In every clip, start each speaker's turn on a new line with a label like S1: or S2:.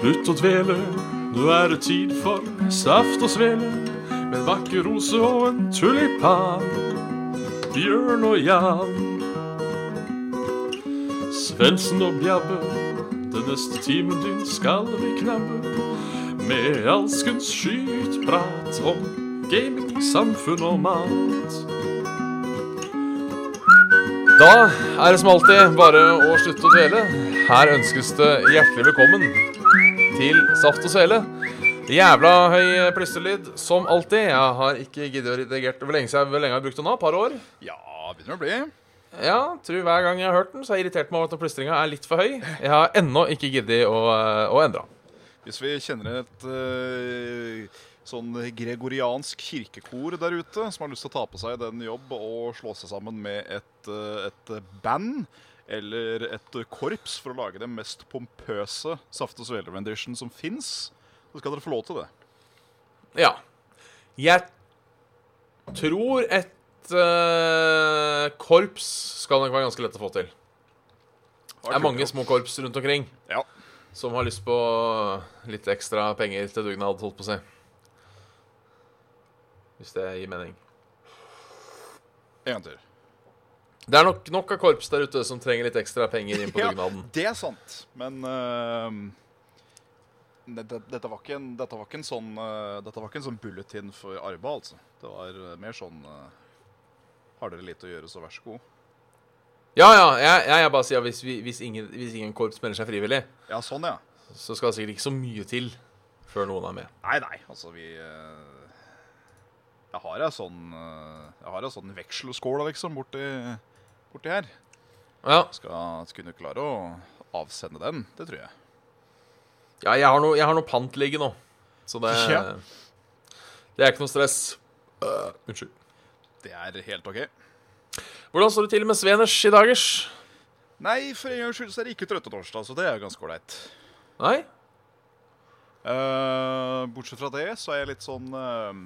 S1: Slutt å dvele, nå er det tid for saft og svele. Med en vakker rose og en tulipan. Bjørn og Jan. Svendsen og Bjabbe, den neste timen din skal vi knabbe. Med alskens skytprat om gaming, samfunn og mat.
S2: Da er det som alltid bare å slutte å dvele. Her ønskes det hjertelig velkommen til Saft og Svele. Jævla høy plystrelyd, som alltid. Jeg har ikke giddet å redigert Hvor lenge, siden- hvor lenge har jeg brukt den nå? Par år?
S3: Ja, begynner å bli.
S2: Ja, tror hver gang jeg har hørt den, så har jeg irritert meg over at plystringa er litt for høy. Jeg har ennå ikke giddet å, eh, å endre den.
S3: Hvis vi kjenner et eh, sånn gregoriansk kirkekor der ute som har lyst til å ta på seg den jobb og slå seg sammen med et, eh, et band eller et korps for å lage den mest pompøse Saft og Svele-rendition som fins, så skal dere få lov til det.
S2: Ja. Jeg tror et eh, korps skal nok være ganske lett å få til. Det er mange små korps rundt omkring.
S3: Ja.
S2: Som har lyst på eh, litt ekstra penger til dugnad, holdt på å si. Hvis det gir mening.
S3: En gang til.
S2: Det er nok nok av korps der ute som trenger litt ekstra penger inn på dugnaden.
S3: det er sant. Men eh, det, det, dette, var ikke en, dette var ikke en sånn eh, Dette var ikke en sånn bulletin for arbeid, altså. Det var eh, mer sånn eh, Har dere lite å gjøre, så vær så god.
S2: Ja, ja, jeg, jeg, jeg bare sier at hvis, vi, hvis, ingen, hvis ingen korps melder seg frivillig,
S3: Ja, sånn, ja.
S2: så skal det sikkert ikke så mye til før noen er med.
S3: Nei, nei, altså vi eh, Jeg har ei sånn eh, Jeg har ei sånn vekselskål, liksom, borti, borti her.
S2: Ja,
S3: Skal skal kunne klare å avsende den, det tror jeg.
S2: ja jeg, har noe, jeg har noe pant liggende nå. Så det,
S3: Ja.
S2: det er ikke noe stress. Øh, unnskyld.
S3: Det er helt OK.
S2: Hvordan står det til med Sveners i dagers?
S3: Nei, for en gangs skyld så er det ikke trøttetorsdag, så det er ganske ålreit.
S2: Nei?
S3: Eh, bortsett fra det så er jeg litt sånn eh,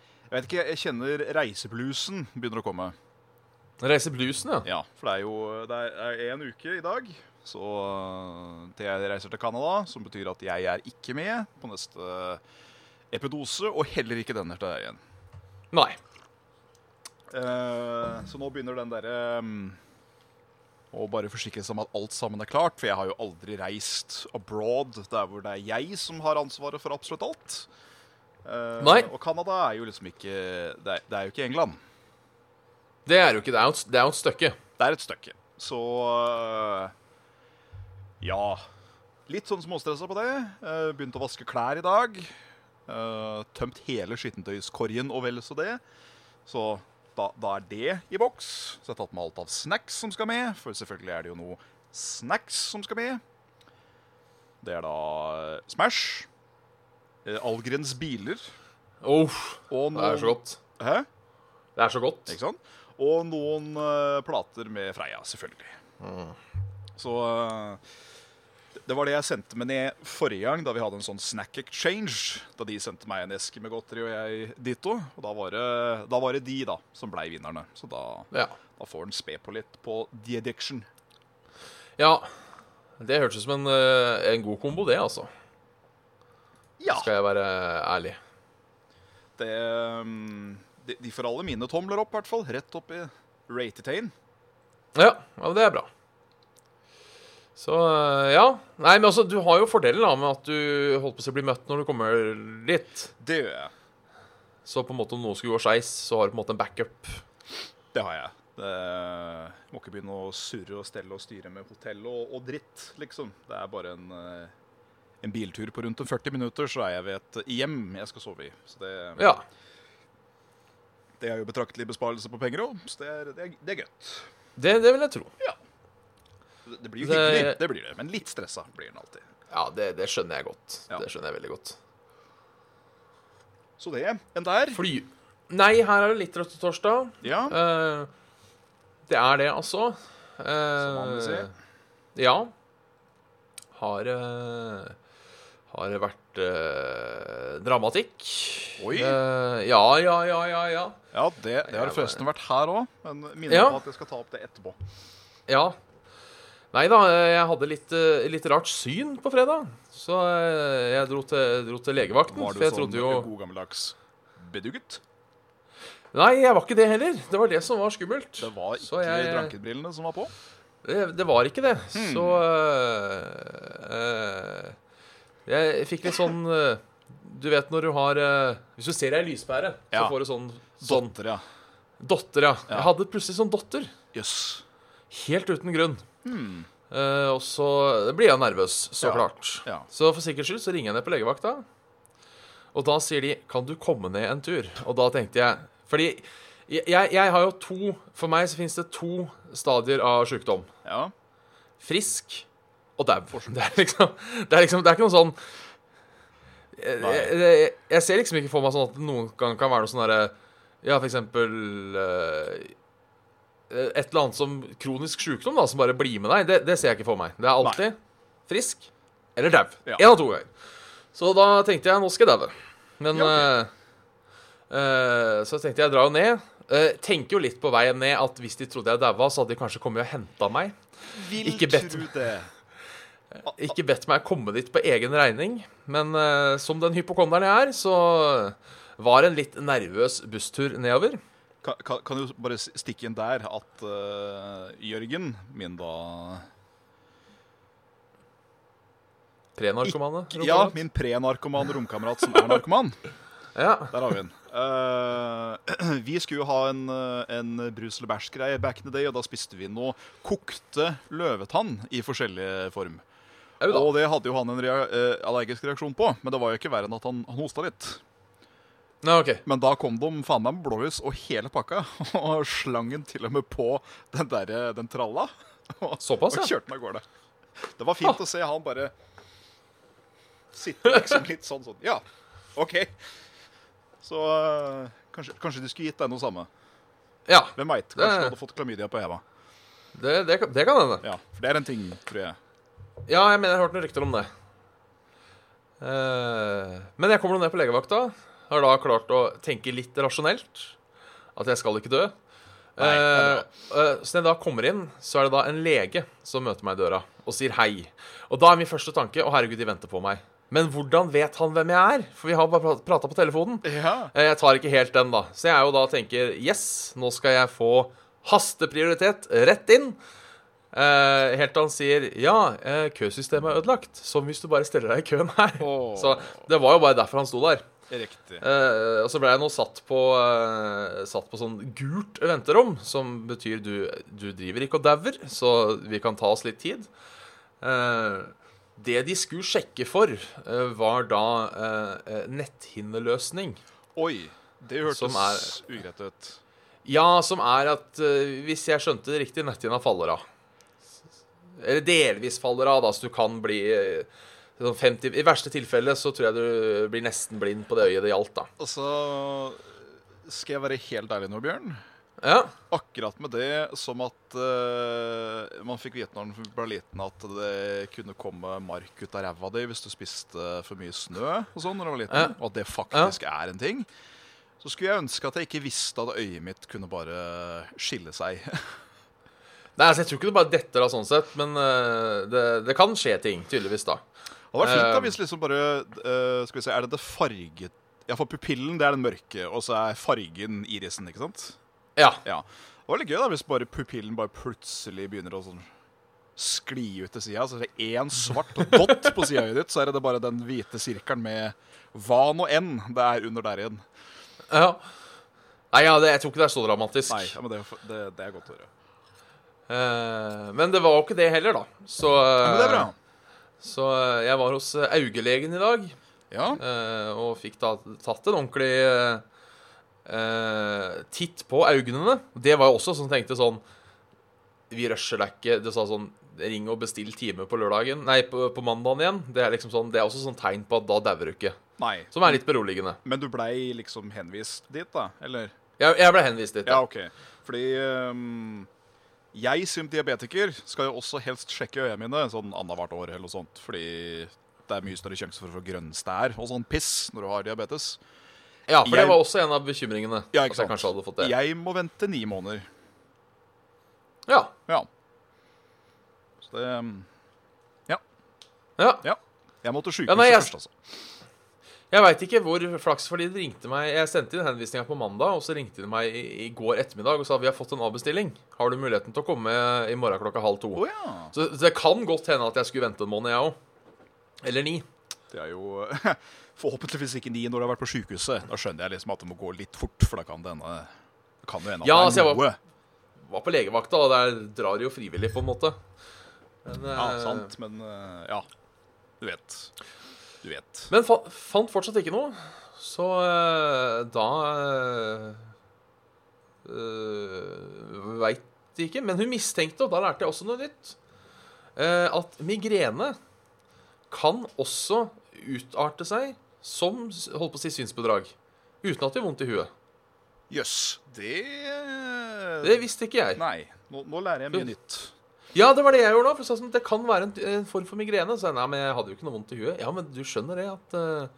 S3: Jeg vet ikke, jeg kjenner reisebluesen begynner å komme.
S2: Reiser bluesen,
S3: Ja,
S2: ja.
S3: For det er jo det er én uke i dag så eh, til jeg reiser til Canada, som betyr at jeg er ikke med på neste eh, epidose, og heller ikke den her til deg igjen.
S2: Nei.
S3: Eh, så nå begynner den derre mm, å bare forsikre seg om at alt sammen er klart, for jeg har jo aldri reist abroad der hvor det er jeg som har ansvaret for absolutt alt. Eh,
S2: Nei.
S3: Og Canada er jo liksom ikke det er, det er jo ikke England.
S2: Det er jo ikke det. Er jo et, det er jo et stykke.
S3: Det er et stykke. Så eh, ja. Litt sånn småstressa på det. Eh, Begynte å vaske klær i dag. Eh, Tømt hele skittentøyskorgen og vel så det. Så da, da er det i boks. Så jeg har tatt med alt av snacks som skal med, for selvfølgelig er det jo noe snacks som skal med. Det er da eh, Smash, eh, Algrens biler
S2: Uff,
S3: og
S2: det er så godt.
S3: Hæ?
S2: Det er så godt.
S3: Ikke sant? Og noen eh, plater med Freia, selvfølgelig. Så eh, det- det var det jeg sendte meg ned forrige gang, da vi hadde en sånn snack exchange. Da de sendte meg en eske med godteri og jeg ditto. Og da var det, da var det de da, som blei vinnerne. Så da,
S2: Ja.
S3: da får en spe på litt på The Addiction.
S2: ja. Det hørtes ut som en, eh, en god kombo, det, altså.
S3: Ja,
S2: Skal jeg være ærlig.
S3: det, mm, de, de får alle mine tomler opp, i hvert fall. Rett opp i Ratetain.
S2: Ja, ja men det er bra. Så eh, ja. Nei, men altså, du har jo fordelen da, med at du holdt på å si blir møtt når du kommer dit.
S3: Det gjør jeg.
S2: Så på en måte om noe skulle gå skeis, så har du på en måte en backup.
S3: Det har jeg. Det må ikke begynne å surre og stelle og styre med hotell og, og dritt, liksom. Det er bare en, eh, en biltur på rundt en 40 minutter, så er jeg ved et hjem jeg skal sove i. Så det,
S2: Ja.
S3: det er jo betraktelig besparelse på penger òg, så det er, det er, det er gøtt.
S2: Det, det vil jeg tro.
S3: Det, det blir jo
S2: Det-
S3: hyggelig, det blir det. Men litt stressa blir den alltid.
S2: Ja, det, det skjønner jeg godt.
S3: Ja.
S2: Det skjønner jeg veldig godt.
S3: Så det. En der.
S2: Fly... Nei, her er det litt rødt torsdag.
S3: Ja.
S2: Eh, det er det, altså. Eh,
S3: Som vanlig, sier.
S2: Ja. Har eh, Har vært eh, dramatikk.
S3: Oi.
S2: Eh, ja, ja, ja, ja, ja.
S3: Ja, det, det har forresten vært her òg, men minner
S2: Ja.
S3: på at jeg skal ta opp det etterpå.
S2: Ja. Nei da, jeg hadde litt, eh, litt rart syn på fredag. Så eh, jeg dro til, dro til legevakten.
S3: Var
S2: For
S3: du
S2: jeg
S3: sånn
S2: trodde jo
S3: god gammeldags bedugget?
S2: Nei, jeg var ikke det heller. Det var det som var skummelt.
S3: Det var
S2: Så
S3: ikke
S2: jeg-
S3: drankebrillene som var på?
S2: Det, det var ikke det.
S3: Hmm.
S2: Så øh, øh, Jeg fikk litt sånn øh, Du vet når du har øh, Hvis du ser ei lyspære, så
S3: Ja.
S2: får du sånn, sånn
S3: Dotter, ja.
S2: Dotter, ja. Jeg hadde plutselig sånn dotter.
S3: Jøss.
S2: Helt uten grunn. Eh, og så blir jeg nervøs,
S3: Hmm.
S2: så
S3: Ja.
S2: klart.
S3: Ja.
S2: Så for sikkerhets skyld så ringer jeg ned på legevakta. Og da sier de 'Kan du komme ned en tur?' Og da tenkte jeg Fordi jeg, jeg, jeg har jo to For meg så fins det to stadier av sjukdom.
S3: Ja.
S2: frisk og dau. Det, er liksom, det er liksom Det er ikke noe sånn jeg, jeg, jeg ser liksom ikke for meg sånn at det noen gang kan være noe sånn derre Ja, for eksempel eh, Et eller annet som kronisk sykdom, da, som bare blir med deg. Det, det ser jeg ikke for meg. Det er alltid frisk eller dau.
S3: Ja.
S2: Én av to ganger. Så da tenkte jeg nå skal jeg daue. Men
S3: Ja,
S2: eh, eh, Så tenkte jeg jeg drar jo ned. Eh, tenker jo litt på veien ned at hvis de trodde jeg daua, så hadde de kanskje kommet og henta meg.
S3: Vil
S2: Ikke bedt-
S3: tro det.
S2: ikke bedt meg komme dit på egen regning, men eh, som den hypokonderen jeg er, så var en litt nervøs busstur nedover.
S3: Kan, kan, kan du bare s- stikke inn der at eh, Jørgen, min da
S2: Pre-narkomane.
S3: Ja, min pre-narkoman romkamerat som er narkoman.
S2: ja.
S3: Der har vi den. Eh, vi skulle jo ha en, eh, en brus eller bæsj-greie back in the day, og da spiste vi noe kokte løvetann i forskjellig form.
S2: Au da.
S3: Og det hadde jo han en rea eh, allergisk reaksjon på, men det var jo ikke verre enn at han, han hosta litt.
S2: Nei, OK.
S3: Men da kom de faen meg med blålys og hele pakka, og slang den til og med på den derre den tralla. Og,
S2: Såpass,
S3: og
S2: ja.
S3: kjørte den av gårde. Det var fint å se han bare sitte liksom litt sånn sånn. Ja, OK. Så eh, kanskje, kanskje de skulle gitt deg noe samme.
S2: Ja,
S3: Hvem veit?
S2: Det-
S3: Kanskje du hadde fått klamydia på heva.
S2: det, det, kan- det kan hende.
S3: Ja, for det er en ting, tror jeg.
S2: Ja, jeg mener jeg har hørt noen rykter om det. Eh, men jeg kommer nå ned på legevakta. Har da klart å tenke litt rasjonelt. At jeg skal ikke dø.
S3: Nei, det er
S2: Eh, eh, så når jeg da kommer inn, så er det da en lege som møter meg i døra og sier hei. Og da er min første tanke å herregud, de venter på meg. Men hvordan vet han hvem jeg er? For vi har bare prata på telefonen.
S3: Ja.
S2: Eh, Jeg tar ikke helt den, da. Så jeg er jo da og tenker yes, nå skal jeg få hasteprioritet rett inn. Eh, helt til han sier ja, eh, køsystemet er ødelagt. Som hvis du bare steller deg i køen her.
S3: Åh.
S2: Så det var jo bare derfor han sto der.
S3: Riktig.
S2: Eh, og så ble jeg nå satt på, eh, satt på sånn gult venterom, som betyr du, du driver ikke og dauer, så vi kan ta oss litt tid. Eh, det de skulle sjekke for, eh, var da eh, eh, netthinneløsning.
S3: Oi. Det
S2: Som
S3: hørtes
S2: er-
S3: ugreit ut.
S2: Ja, som er at eh, hvis jeg skjønte det riktig, netthinna faller av. Eller delvis faller av, da, så du kan bli eh, sånn 50 I verste tilfelle så tror jeg du blir nesten blind på det øyet det gjaldt, da.
S3: Altså Skal jeg være helt ærlig nå, Bjørn?
S2: Ja.
S3: Akkurat med det som at eh, man fikk vite når man ble liten at det kunne komme mark ut av ræva di hvis du spiste for mye snø og sånn når du var liten,
S2: Ja.
S3: og at det faktisk er en ting. Så skulle jeg ønske at jeg ikke visste at øyet mitt kunne bare skille seg.
S2: Nei, altså, Jeg tror ikke det bare detter av sånn sett, men eh, det, det kan skje ting, tydeligvis, da.
S3: Det hadde vært fint da
S2: Eh,
S3: hvis liksom bare eh, Skal vi se, er det det farget Ja, for pupillen det er den mørke, og så er fargen irisen, ikke sant?
S2: Ja.
S3: Ja. Det var litt gøy da hvis bare pupillen bare plutselig begynner å sånn skli ut til sida. Så er det én svart dott på sida ditt, så er det bare den hvite sirkelen med hva nå enn det er under der igjen.
S2: ja. Nei, ja, det, jeg tror ikke det er så dramatisk.
S3: Nei, ja, men det, er f- det, det er godt å høre.
S2: Eh, men det var jo ikke det heller, da. Så,
S3: Ja, men det er bra.
S2: så eh, jeg var hos eh, augelegen i dag.
S3: Ja.
S2: Eh, og fikk da tatt en ordentlig eh, eh, titt på øynene. Det var jo også som tenkte sånn Vi rusher deg ikke. Det sa sånn Ring og bestill time på lørdagen Nei, på, på mandagen igjen. Det er liksom sånn Det er også sånn tegn på at da dauer du ikke.
S3: Nei.
S2: Som er litt beroligende.
S3: Men du blei liksom henvist dit, da? Eller?
S2: Jeg, jeg ble henvist dit.
S3: Ja, OK. Fordi ehm, jeg som diabetiker skal jo også helst sjekke øya mine sånn annethvert år eller noe sånt. Fordi det er mye større sjanse for å få grønnstær og sånn piss når du har diabetes.
S2: Ja, for
S3: Jeg-
S2: det var også en av bekymringene.
S3: Ja,
S2: at
S3: ikke sant.
S2: jeg kanskje hadde fått det.
S3: Jeg må vente ni måneder.
S2: Ja.
S3: Ja. Så det um, Ja.
S2: Ja.
S3: ja. Jeg må til sykehuset
S2: Ja, nei, jeg-
S3: først, altså.
S2: Jeg veit ikke hvor flaks, fordi de ringte meg Jeg sendte inn henvisninga på mandag, og så ringte de meg i, i går ettermiddag og sa vi har fått en avbestilling. Har du muligheten til å komme i morgen klokka halv to?
S3: Å ja.
S2: Så det kan godt hende at jeg skulle vente en måned, jeg òg. Eller ni.
S3: Det er jo forhåpentligvis ikke ni når du har vært på sykehuset. Da skjønner jeg liksom at det må gå litt fort, for da kan det hende det kan jo hende at
S2: Ja, altså,
S3: det
S2: jeg
S3: er
S2: var-
S3: noe.
S2: Var på legevakta, og der drar jo frivillig, på en måte. Men,
S3: Ja,
S2: eh,
S3: sant, men eh, ja. Du vet. Du vet.
S2: Men fa fant fortsatt ikke noe. Så eh, da eh, uh, eh, Veit ikke. Men hun mistenkte, og da lærte jeg også noe nytt, eh, at migrene kan også utarte seg som holdt på å si synsbedrag. Uten at det gjør vondt i huet.
S3: Jøs. Det
S2: Det visste ikke jeg.
S3: uh, Nei. Nå, nå lærer jeg mye nytt.
S2: Ja, det var det jeg gjorde da. For hun sa sånn, det kan være en, en form for migrene. Så jeg, nei, men jeg hadde jo ikke noe vondt i huet. Ja, men du skjønner det at eh,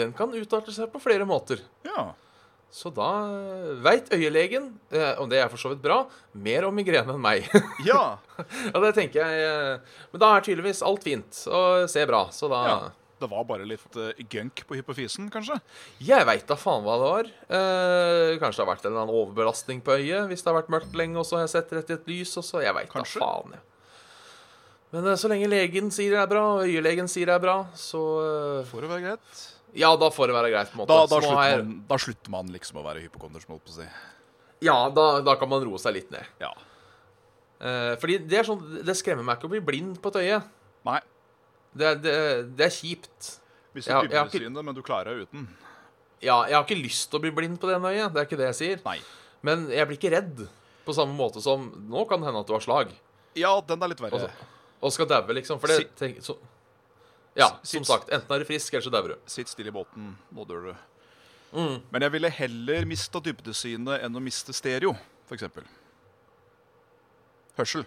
S2: den kan utarte seg på flere måter.
S3: Ja.
S2: Så da eh, veit øyelegen, eh, om det er for så vidt bra, mer om migrene enn meg.
S3: Ja.
S2: ja, det tenker jeg. Eh, men da er tydeligvis alt fint og ser bra. Så da
S3: ja. Det var bare litt eh, gunk på hypofisen, kanskje?
S2: Jeg veit da faen hva det var. Eh, kanskje det har vært en eller annen overbelastning på øyet hvis det har vært mørkt lenge, og så har jeg sett rett i et lys, og så Jeg veit da
S3: Kanskje.
S2: faen, jeg. Men eh, så lenge legen sier det er bra, og øyelegen sier det er bra, så eh,
S3: Får det være greit?
S2: Ja, da får det være greit, på en måte.
S3: Da, da,
S2: Så nå
S3: slutter
S2: har jeg-
S3: man, da slutter man liksom å være hypokonder, som jeg holdt på å si.
S2: Ja, da, da kan man roe seg litt ned.
S3: Ja.
S2: Eh, fordi det er sånn Det skremmer meg ikke å bli blind på et øye.
S3: Nei.
S2: Det, er- det, det er kjipt.
S3: Hvis du
S2: Ja,
S3: ja,
S2: jeg har ikke-
S3: synet, men du klarer deg uten.
S2: Ja, jeg har ikke lyst til å bli blind på det ene øyet, det er ikke det jeg sier.
S3: Nei.
S2: Men jeg blir ikke redd på samme måte som Nå kan det hende at du har slag
S3: Ja, den er litt verre.
S2: Altså, og skal daue, liksom. For det tenk, så, Ja, som
S3: Sitt-
S2: sagt. Enten er du frisk, eller så dauer du.
S3: Sitt stille i båten, nå dør du.
S2: Mm.
S3: Men jeg ville heller mista dybdesynet enn å miste stereo, f.eks. Hørsel.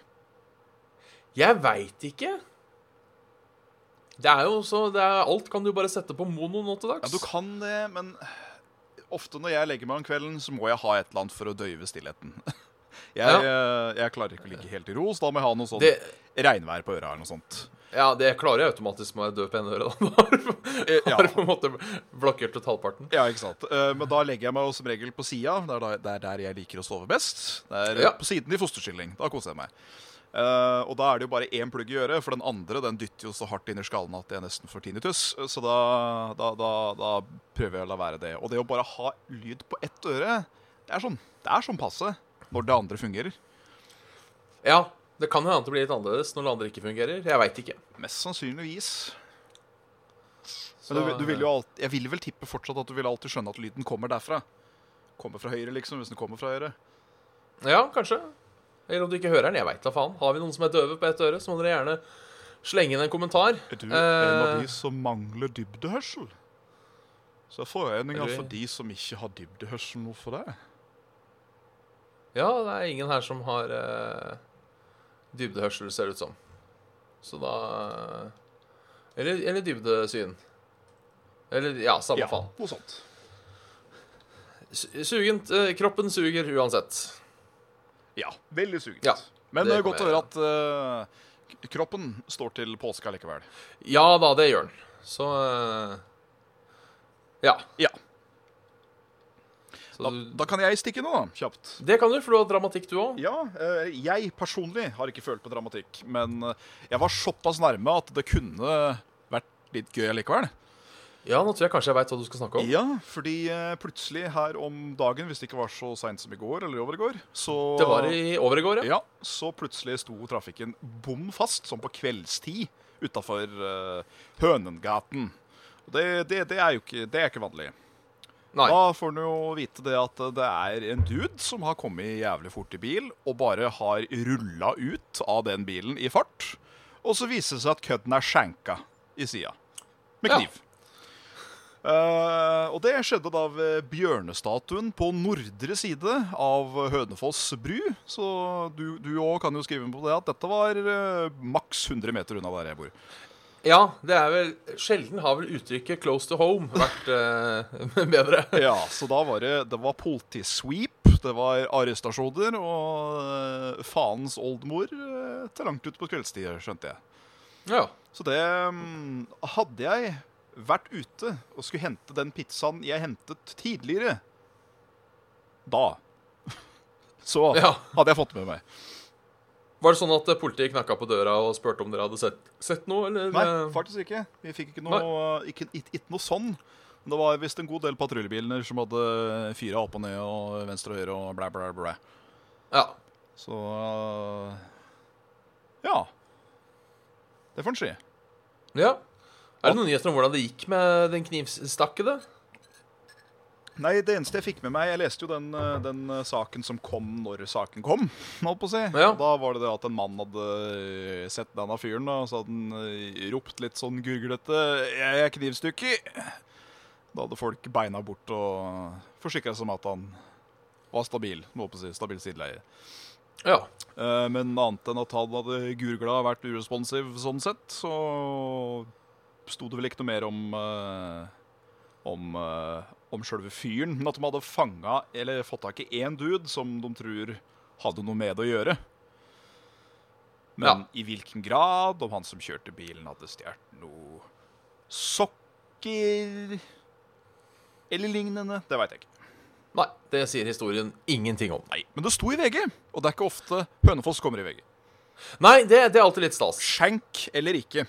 S2: Jeg veit ikke. Det er jo så det er, Alt kan du bare sette på mono nå til dags.
S3: Ja, du kan det, men ofte når jeg legger meg om kvelden, så må jeg ha et eller annet for å døyve stillheten. Jeg,
S2: Ja.
S3: eh, jeg klarer ikke å ligge helt i ro, så da må jeg ha noe sånn
S2: Det-
S3: regnvær på øra eller noe sånt.
S2: Ja, det klarer jeg automatisk med å dø på ene øret. da. Da har du-
S3: Eh, Ja.
S2: har du på en måte blokkert ut halvparten.
S3: Ja, ikke sant. Eh, Men da legger jeg meg jo som regel på sida. Det er da- det er der jeg liker å sove best. Det er eh,
S2: Ja.
S3: På siden i fosterstilling. Da koser jeg meg. Eh, og da er det jo bare én plugg i øret, for den andre den dytter jo så hardt inn i skallen at jeg nesten får tinnitus. Så da, da, da, da prøver jeg å la være det. Og det å bare ha lyd på ett øre, det er sånn, det er sånn passe når det andre fungerer.
S2: Ja, det kan jo hende at det blir litt annerledes når det andre ikke fungerer. Jeg veit ikke.
S3: Mest sannsynligvis.
S2: Så,
S3: Men du, du vil jo alt, jeg vil vel tippe fortsatt at du vil alltid skjønne at lyden kommer derfra. Kommer fra høyre, liksom, hvis den kommer fra høyre.
S2: Ja, kanskje. Eller om du ikke hører den. Jeg veit da faen. Har vi noen som er døve på ett øre, så må dere gjerne slenge inn en kommentar.
S3: Er du en
S2: Eh,
S3: av de som mangler dybdehørsel? Så er foreninga
S2: Er du-
S3: for de som ikke har dybdehørsel noe for deg.
S2: Ja, det er ingen her som har eh, dybdehørsel, ser det ut som. Så da eh, Eller, eller dybdesyn. Eller ja, samme faen.
S3: noe sånt.
S2: Su- Sugent. eh, kroppen suger uansett.
S3: Ja, veldig sugent.
S2: Ja,
S3: Men
S2: det
S3: det er godt å
S2: kan
S3: høre at eh, k- kroppen står til påska likevel.
S2: Ja da, det gjør den. Så eh, Ja.
S3: Ja,
S2: Så
S3: da,
S2: du-
S3: da kan jeg stikke nå, da. Kjapt.
S2: Det kan du, for du har dramatikk, du òg.
S3: Ja, eh, jeg personlig har ikke følt på dramatikk, men eh, jeg var såpass nærme at det kunne vært litt gøy likevel.
S2: Ja, nå tror jeg kanskje jeg veit hva du skal snakke om.
S3: Ja, fordi eh, plutselig her om dagen, hvis det ikke var så seint som i går eller i overgår, så
S2: Det var i over i går, ja.
S3: Ja, så plutselig sto trafikken bom fast, som på kveldstid, utafor Hønengaten. Og Det, det, det, er jo ikke, det er ikke vanlig.
S2: Nei.
S3: Da får en jo vite det at det er en dude som har kommet jævlig fort i bil, og bare har rulla ut av den bilen i fart. Og så viser det seg at kødden er skjenka i sida. Med
S2: Ja.
S3: kniv. Eh, og det skjedde da ved bjørnestatuen på nordre side av Hønefoss bru. Så du du òg kan jo skrive på det at dette var eh, maks 100 meter unna der jeg bor.
S2: Ja, det er vel Sjelden har vel uttrykket 'close to home' vært eh, bedre.
S3: Ja, Så da var det, det var politisweep, det var arrestasjoner og eh, faens oldemor eh, til langt ut på kveldstid, skjønte jeg.
S2: Ja.
S3: Så det mm, Hadde jeg vært ute og skulle hente den pizzaen jeg hentet tidligere, da Så
S2: ja.
S3: hadde jeg fått med meg.
S2: Var det sånn at eh, politiet knakka på døra og spurte om dere hadde sett, sett noe, eller?
S3: Nei,
S2: eh,
S3: faktisk ikke. Vi fikk ikke noe, ikke, ikke, ikke noe sånn. Men det var visst en god del patruljebiler som hadde fyra opp og ned og venstre og høyre og blæ, blæ, blæ.
S2: Ja.
S3: Så øh, Ja. Det får en si.
S2: ja. Er det noen nyheter om hvordan det gikk med den knivstakkede?
S3: Nei, det eneste jeg fikk med meg Jeg leste jo den, øh, den øh, saken som kom når saken kom. Holdt på å si.
S2: Ja.
S3: Og Da var det det at en mann hadde øh, sett denne fyren, da, og så hadde han øh, ropt litt sånn gurglete 'Jeg er knivstukket'. Da hadde folk beina bort og forsikra seg om at han var stabil. Holdt på å si, stabil sideleier.
S2: Ja.
S3: Eh, Men annet enn at han hadde gurgla og vært uresponsiv sånn sett, så sto det vel ikke noe mer om eh, om, eh, om sjølve fyren. Men at de hadde fanga eller fått tak i én dude som de tror hadde noe med det å gjøre. Men i hvilken grad? Om han som kjørte bilen, hadde stjålet noe sokker eller lignende? Det veit jeg ikke.
S2: Nei, det sier historien ingenting om.
S3: Nei, Men det sto i VG, og det er ikke ofte Hønefoss kommer i VG.
S2: Nei, det, det er alltid litt stas.
S3: Skjenk eller ikke.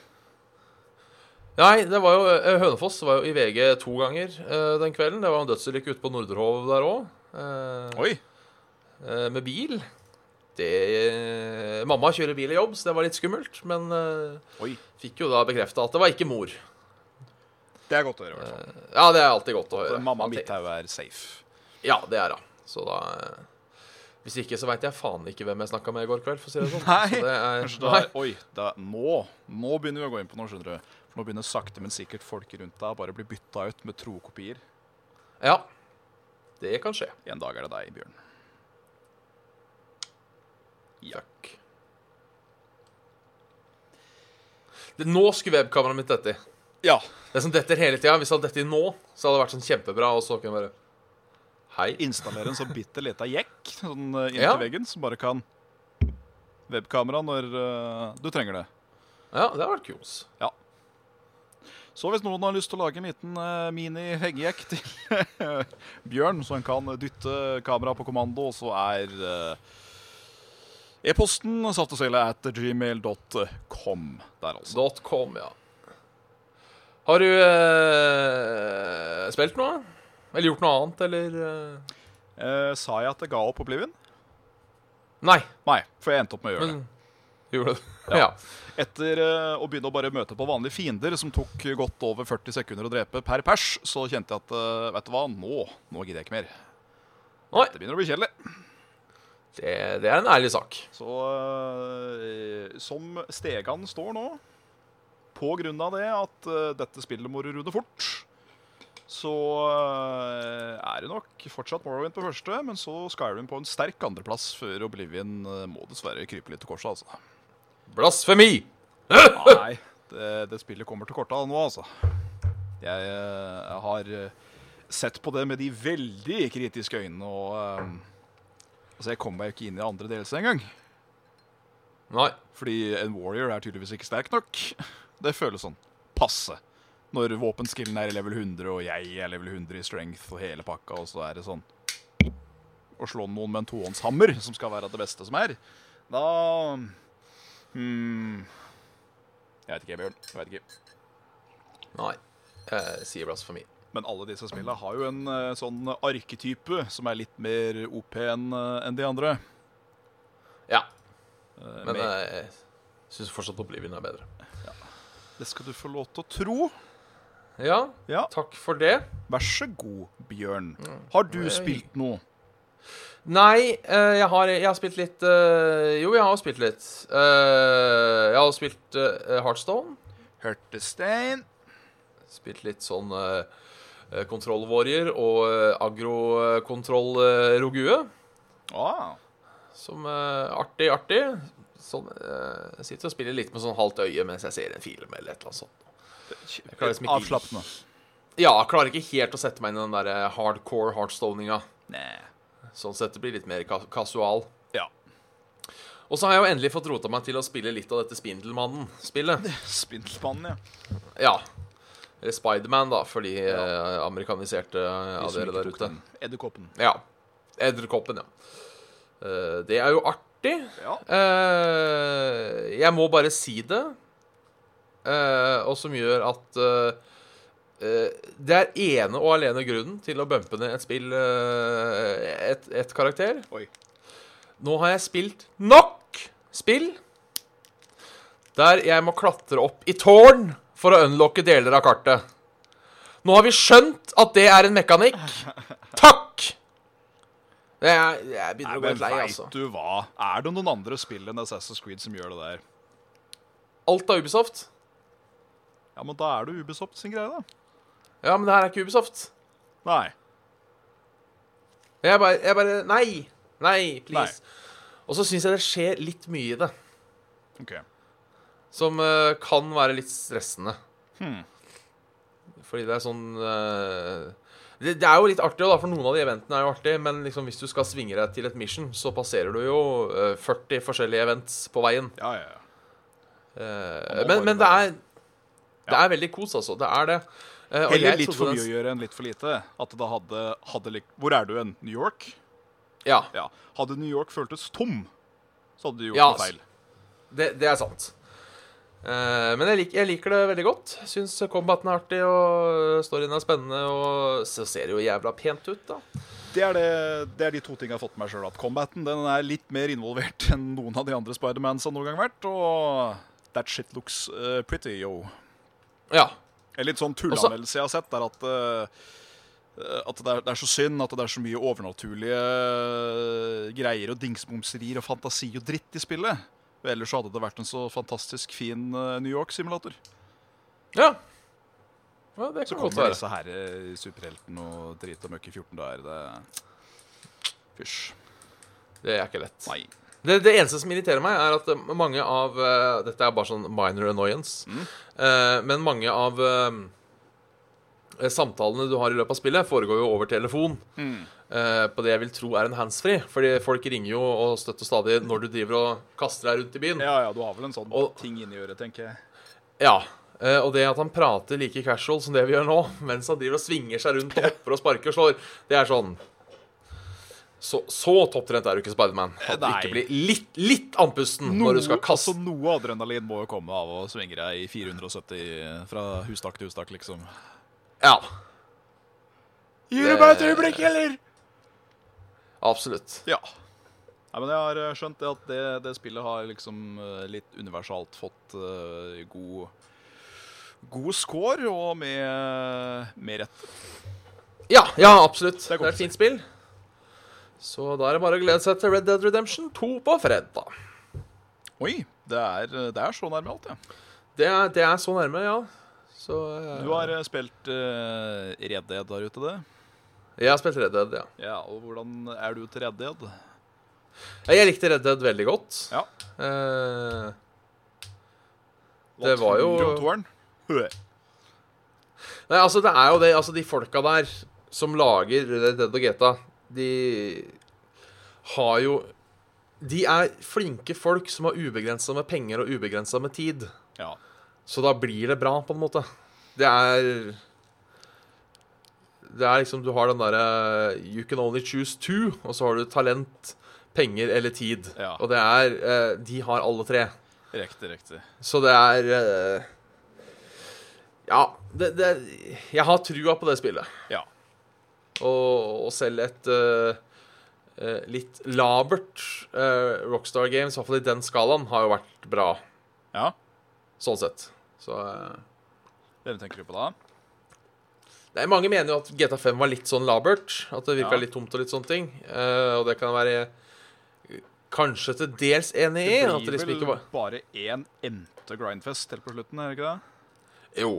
S2: Nei, det var jo eh, Hønefoss var jo i VG to ganger eh, den kvelden. Det var en dødsulykke ute på Nordrehov der òg, eh,
S3: Oi!
S2: eh, med bil. Det, eh, mamma kjører bil i jobb, så det var litt skummelt. Men eh,
S3: Oi.
S2: fikk jo da bekrefta at det var ikke mor.
S3: Det er godt å høre. i hvert fall.
S2: Ja, det er alltid godt å høre.
S3: Så Mamma
S2: Alltid.
S3: Midthaug er safe.
S2: Ja, det er hun. Så da eh, Hvis ikke, så veit jeg faen ikke hvem jeg snakka med i går kveld, for å si det sånn.
S3: Nei,
S2: Så det er,
S3: Kanskje da,
S2: nei.
S3: Oi, da, nå, nå begynner vi å gå inn på noe, skjønner du. For nå begynner sakte, men sikkert folk rundt deg å bare bli bytta ut med trokopier.
S2: Ja. Det kan skje.
S3: En dag er det deg, Bjørn.
S2: Fuck. Det, nå skulle webkameraet mitt dette i.
S3: Ja.
S2: Det som detter hele tida. Hvis det hadde dettet i nå, så hadde det vært sånn kjempebra. Og så kunne jeg bare Hei.
S3: Installere en så bitte lita jekk sånn, eh, inntil
S2: Ja.
S3: veggen som bare kan webkamera når eh, du trenger det.
S2: Ja, det hadde vært kos.
S3: Så hvis noen har lyst til å lage en liten eh, mini-heggejekk til Bjørn, så han kan dytte kameraet på kommando, så er eh, e-posten saftesøyle at gmail.com der, altså.
S2: Dot com, ja. Har du eh, spilt noe? Eller gjort noe annet, eller eh?
S3: Eh, sa jeg at jeg ga opp Oblivion?
S2: Nei,
S3: Nei, for jeg endte opp med å gjøre
S2: men Gjorde du det? Ja.
S3: det. Etter eh, å begynne å bare møte på vanlige fiender som tok godt over 40 sekunder å drepe per pers, så kjente jeg at eh, vet du hva, nå, nå gidder jeg ikke mer.
S2: Nei,
S3: Det begynner å bli kjedelig.
S2: det, det er en ærlig sak.
S3: Så eh, som Stegan står nå, på grunn av det at eh, dette spillet må du runde fort, så eh, er det nok fortsatt Morrowind på første, men så Skyrim på en sterk andreplass før Oblivion eh, må dessverre krype litt til korset, altså.
S2: Blasfemi!
S3: Nei, det, det spillet kommer til korta nå, altså. Jeg, eh, jeg har eh, sett på det med de veldig kritiske øynene, og eh, altså, jeg kommer meg jo ikke inn i andre delelser engang.
S2: Nei.
S3: Fordi en warrior er tydeligvis ikke sterk nok. Det føles sånn passe. Når våpenskillen er i level 100, og jeg er level 100 i strength og hele pakka, og så er det sånn Å slå noen med en tohåndshammer, som skal være det beste som er, da hmm. Jeg veit ikke, Bjørn. Jeg vet ikke.
S2: Nei. Jeg sier blasfemi.
S3: Men alle disse spillene har jo en eh, sånn arketype som er litt mer OP enn eh, enn de andre.
S2: Ja.
S3: Eh,
S2: Men
S3: med-
S2: jeg syns fortsatt Oblivion er bedre.
S3: Det skal du få lov til å tro.
S2: Ja,
S3: Ja.
S2: takk for det.
S3: Vær så god, Bjørn. Har du spilt noe?
S2: Nei, eh, jeg, har, jeg har spilt litt eh, Jo, jeg har spilt litt. Eh, jeg har spilt eh, Heartstone.
S3: Hørtestein.
S2: Spilt litt sånn uh, kontrollvårier og uh, agrokontroll eh, rogue.
S3: Ah,
S2: Som eh, artig, artig. Sånn, eh, jeg sitter og spiller litt med sånn halvt øye mens jeg ser en film eller et eller annet sånt. klarer liksom
S3: Eh,
S2: ikke-
S3: Avslappende.
S2: Ja, jeg klarer ikke helt å sette meg inn i den der eh, hardcore heartstoninga.
S3: Nei.
S2: Sånn sett det blir litt mer ka kasual.
S3: Ja.
S2: Og så har jeg jo endelig fått rota meg til å spille litt av dette Spindelmannen-spillet.
S3: Spindelmannen, ja.
S2: Ja. Eller Spiderman, da, for de eh, amerikaniserte av
S3: De som
S2: dere
S3: ikke
S2: der
S3: tok
S2: ute.
S3: den. Edderkoppen.
S2: Ja. Edderkoppen, ja. Eh, det er jo artig.
S3: Ja.
S2: Eh, jeg må bare si det, eh, og som gjør at eh, eh, det er ene og alene grunnen til å bumpe ned et spill eh, et, et karakter.
S3: Oi.
S2: Nå har jeg spilt nok spill der jeg må klatre opp i tårn for å unlocke deler av kartet. Nå har vi skjønt at det er en mekanikk. Takk! Jeg, jeg
S3: Nei,
S2: begynner å gå
S3: men
S2: litt lei,
S3: veit
S2: altså.
S3: du hva? Er det noen andre spill enn Assassin's Creed som gjør det der?
S2: Alt av Ubisoft.
S3: Ja, men da er det Ubisoft sin greie, da.
S2: Ja, men det her er ikke Ubisoft.
S3: Nei.
S2: Jeg bare, jeg bare Nei! Nei, please. Og så syns jeg det skjer litt mye i det,
S3: OK.
S2: som eh, kan være litt stressende.
S3: Hmm.
S2: Fordi det er sånn eh, det, det er jo litt artig, da, for noen av de eventene er jo artig, men liksom hvis du skal svinge deg til et mission, så passerer du jo eh, 40 forskjellige events på veien.
S3: Ja, ja, ja.
S2: Eh,
S3: må
S2: men,
S3: bare
S2: men det er Det er veldig kos, altså. Det er det. Eh, og
S3: Heller
S2: jeg
S3: litt
S2: trodde
S3: for
S2: den-
S3: mye å gjøre enn litt for lite. At det da hadde, hadde lik... Hvor er du hen? New York?
S2: Ja.
S3: Ja. Hadde New York føltes tom, så hadde du gjort
S2: Ja,
S3: noe feil.
S2: Det, det er sant. Eh, men jeg, lik, jeg liker det veldig godt. Syns combaten er artig, og storyen er spennende, og så ser det jo jævla pent ut, da.
S3: Det er, det, det er de to tingene jeg har fått med meg sjøl. At combaten den er litt mer involvert enn noen av de andre Spidermans har noen gang vært. Og that shit looks eh, pretty, yo.
S2: Ja.
S3: En litt sånn
S2: Og så-
S3: tulleanmeldelse jeg har sett, er at, eh, at det, er, det er så synd at det er så mye overnaturlige eh, greier og dingsbomserier og fantasi og dritt i spillet. Ellers så hadde det vært en så fantastisk fin eh, New York-simulator.
S2: Ja, ja det
S3: Så
S2: kan godt
S3: kommer
S2: være.
S3: disse her eh, superheltene og drit og møkk i 14 dager. Det Fysj.
S2: Det er ikke lett.
S3: Nei.
S2: Det, det eneste som irriterer meg, er at eh, mange av eh, Dette er bare sånn minor annoyance. Eh, men mange av eh, samtalene du har i løpet av spillet, foregår jo over telefon. eh, på det jeg vil tro er en handsfree. Fordi folk ringer jo og støtter stadig når du driver og kaster deg rundt i byen.
S3: Ja, ja, du har vel en sånn
S2: Og-
S3: ting inni øret, tenker jeg.
S2: Ja, eh, og det at han prater like casual som det vi gjør nå, mens han driver og svinger seg rundt og hopper og sparker og slår, det er sånn Så, så topptrent er du ikke, Spiderman. At du
S3: Eh, Nei.
S2: ikke blir litt, litt andpusten når du skal kaste
S3: altså, noe adrenalin må jo komme av å svinge deg i 470 fra hustak til hustak, liksom.
S2: Ja,
S3: Gir
S2: du meg et
S3: øyeblikk, eller?
S2: absolutt.
S3: Eh, Ja. Nei, men jeg har eh, skjønt det at det, det spillet har liksom eh, litt universalt fått eh, god God score, og med, med rett.
S2: Ja, ja, absolutt.
S3: er
S2: Det
S3: godt
S2: er et fint spill. Så da er det bare å glede seg til Red Dead Redemption 2 på fredag.
S3: Oi, det er, det er så nærme alt, ja.
S2: Det er, det er så nærme, ja. Så eh,
S3: Du har eh, spilt uh, Red Dead der ute, det?
S2: Jeg har spilt Red Dead, ja.
S3: Ja, og hvordan er du til Red Dead?
S2: Jeg likte Red Dead veldig godt.
S3: Ja.
S2: Eh, Det var jo-
S3: Hva tror du om toeren? Hø.
S2: Nei, altså det er jo det, altså de folka der som lager Red Dead og GTA, de har jo De er flinke folk som har ubegrensa med penger og ubegrensa med tid.
S3: Ja.
S2: Så da blir det bra, på en måte. Det er Det er liksom Du har den derre You can only choose two, og så har du talent, penger eller tid.
S3: Ja.
S2: Og det er eh, De har alle tre.
S3: Riktig, riktig.
S2: Så det er eh, Ja, det, det Jeg har trua på det spillet.
S3: Ja.
S2: Og, og selv et eh, eh, litt labert eh, Rockstar Games, i hvert fall i den skalaen, har jo vært bra,
S3: Ja,
S2: sånn sett. Så eh,
S3: Hvem tenker du på da?
S2: Nei, Mange mener jo at GTA5 var litt sånn labert. At det virka
S3: Ja.
S2: litt tomt og litt sånne ting. Eh, og det kan jeg være eh, kanskje til dels enig i. At det
S3: blir
S2: liksom
S3: vel
S2: ikke var
S3: bare én endte grindfest helt på slutten, er det ikke det?
S2: Jo.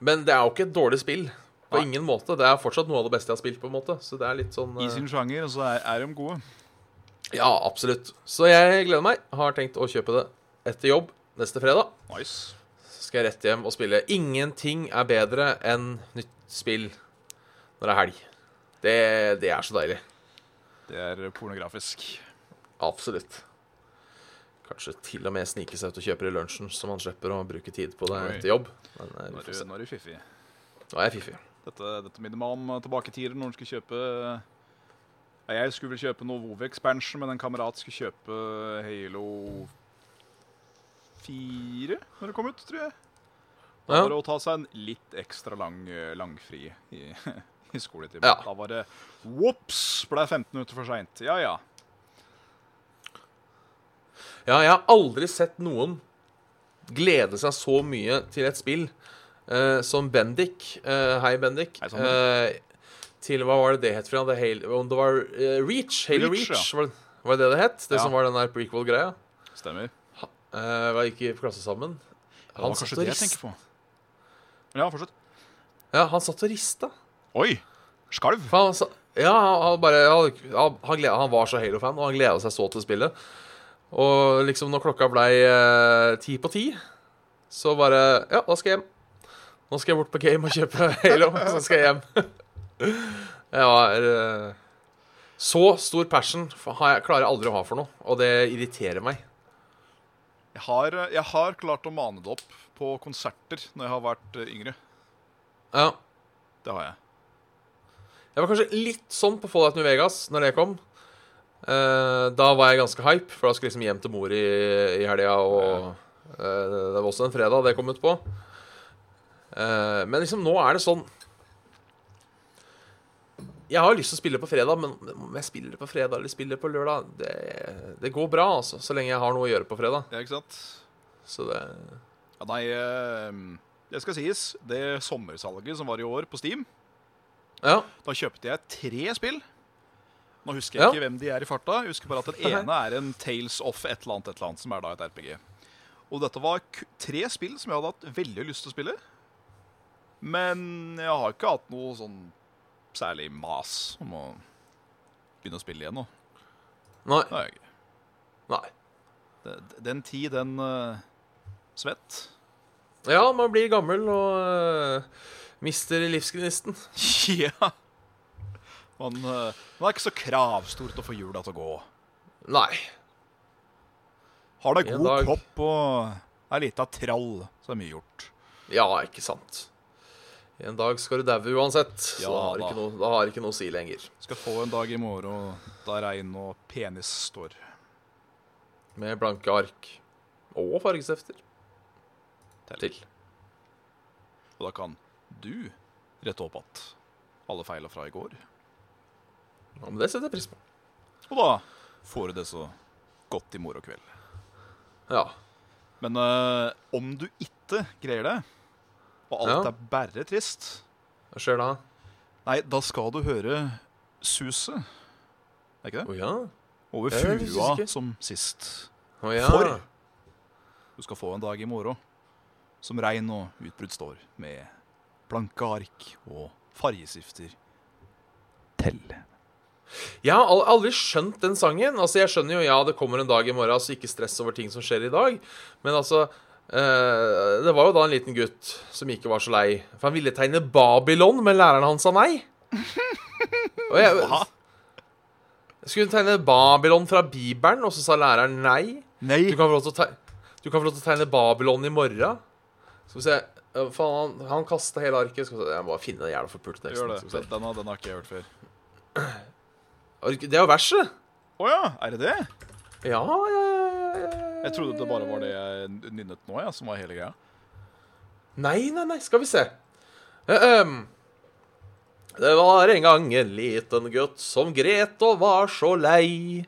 S2: Men det er jo ikke et dårlig spill. På
S3: Nei.
S2: ingen måte. Det er fortsatt noe av det beste jeg har spilt. på en måte Så det er litt sånn
S3: I
S2: eh,
S3: sin sjanger, så er, er de gode.
S2: Ja, absolutt. Så jeg gleder meg. Har tenkt å kjøpe det etter jobb neste fredag.
S3: Nice.
S2: Så skal jeg rett hjem og spille. Ingenting er bedre enn nytt spill når det er helg. Det, det er så deilig.
S3: Det er pornografisk.
S2: Absolutt. Kanskje til og med snike seg ut og kjøpe det i lunsjen, så man slipper å bruke tid på det
S3: Oi.
S2: etter jobb. Men eh,
S3: Nå
S2: vi
S3: er
S2: får
S3: du-
S2: se.
S3: nå er du fiffig.
S2: Nå er jeg fiffig.
S3: Dette, dette minner meg om eh, tilbake i tiden når en skulle kjøpe ja, Jeg skulle vel kjøpe noe WoW Expansion, men en kamerat skulle kjøpe Halo 4 når det kom ut, tror jeg. Da
S2: Ja.
S3: var det å ta seg en litt ekstra lang eh, langfri i, i skoletimen.
S2: Ja.
S3: Da var det Ops! Ble 15 minutter for seint. Ja ja.
S2: Ja, jeg har aldri sett noen glede seg så mye til et spill eh, som Bendik. Eh, hei, Bendik.
S3: Hei, Sander.
S2: Eh, til hva var det det het for noe? Det Halo- Om det var eh, Reach? Halo
S3: Reach,
S2: Reach, var, det- var det det det het? Det
S3: Ja.
S2: som var den der prequel-greia?
S3: Stemmer.
S2: Eh, vi gikk i klasse sammen.
S3: Det var kanskje det jeg
S2: rist-
S3: tenker på. Ja, fortsett.
S2: Ja, han satt og rista.
S3: Oi! Skalv.
S2: For han, sa- ja, han, han bare han, han, han, gled- han var så Halo-fan, og han gleda seg så til spillet. Og liksom når klokka blei eh, ti på ti, så bare Ja, da skal jeg hjem. Nå skal jeg bort på Game og kjøpe Halo, så skal jeg hjem. Jeg var eh, Så stor passion for- har jeg, klarer jeg aldri å ha for noe, og det irriterer meg.
S3: Jeg har, eh, jeg har klart å mane det opp på konserter når jeg har vært eh, yngre.
S2: Ja.
S3: Det har jeg.
S2: Jeg var kanskje litt sånn på Fallout New Vegas når det kom. Eh, da var jeg ganske hype, for da skulle jeg liksom hjem til mor i, i helga. Og eh, det var også en fredag det kom ut på. Eh, men liksom nå er det sånn Jeg har lyst til å spille på fredag, men om jeg spiller på fredag eller spiller på lørdag Det, det går bra, altså, så lenge jeg har noe å gjøre på fredag.
S3: Ja, ikke sant?
S2: Så det
S3: Ja, nei, eh, det skal sies. Det sommersalget som var i år på Steam,
S2: Ja.
S3: da kjøpte jeg tre spill. Nå husker jeg
S2: Ja.
S3: ikke hvem de er i farta. Jeg husker bare at den ene er en Tales of et eller annet, et eller annet, som er da et RPG. Og dette var ku- tre spill som jeg hadde hatt veldig lyst til å spille. Men jeg har ikke hatt noe sånn særlig mas om å begynne å spille igjen nå.
S2: Nei.
S3: Det har jeg ikke.
S2: nei.
S3: Det- Den tid, den eh, svett.
S2: Ja, man blir gammel og eh, mister livsgnisten.
S3: Ja. Man, eh, man er ikke så kravstort å få hjula til å gå.
S2: Nei.
S3: Har deg
S2: En
S3: god
S2: dag.
S3: kropp og er lita trall, så er mye gjort.
S2: Ja, ikke sant. En dag skal du daue uansett, så
S3: Ja,
S2: da har
S3: da.
S2: ikke noe, da har ikke noe å si lenger.
S3: Skal få en dag i morgen da regn og penis står.
S2: Med blanke ark. Og fargestifter. Til.
S3: Og da kan du rette opp att alle feila fra i går.
S2: Ja, men det setter jeg pris på.
S3: Og da får du det så godt i morgen kveld.
S2: Ja.
S3: Men eh, om du ikke greier det, og alt
S2: Ja.
S3: er bare trist,
S2: Hva skjer da?
S3: nei, da skal du høre suset. Er ikke
S2: Å
S3: det?
S2: ja.
S3: Over
S2: Ja, det synes jeg
S3: fua
S2: ikke.
S3: som sist.
S2: Å ja.
S3: For du skal få en dag i morgen som regn og utbrudd står, med blanke ark og fargesifter til.
S2: Jeg har al- aldri skjønt den sangen. Altså, Jeg skjønner jo ja, det kommer en dag i morgen, så ikke stress over ting som skjer i dag. Men altså eh, Det var jo da en liten gutt som ikke var så lei. For han ville tegne Babylon, men læreren hans sa nei. Og jeg,
S3: Hva?
S2: jeg skulle tegne Babylon fra Bibelen, og så sa læreren nei.
S3: Nei!
S2: Du kan få lov til å, teg du kan få lov til å tegne Babylon i morgen. Skal vi se Eh, Faen, han, han kasta hele arket. Skal vi se. Jeg må bare finne den jævla forpulte
S3: Gjør det.
S2: teksten. Skal vi se.
S3: Den, har- den har ikke jeg hørt før.
S2: Det er jo verset.
S3: Å ja, er det det?
S2: Ja, ja, ja, ja, ja.
S3: Jeg trodde det bare var det jeg nynnet nå, ja, som var hele greia.
S2: Nei, nei, nei, skal vi se. Eh, ehm, det var en gang en liten gutt som gret og var så lei.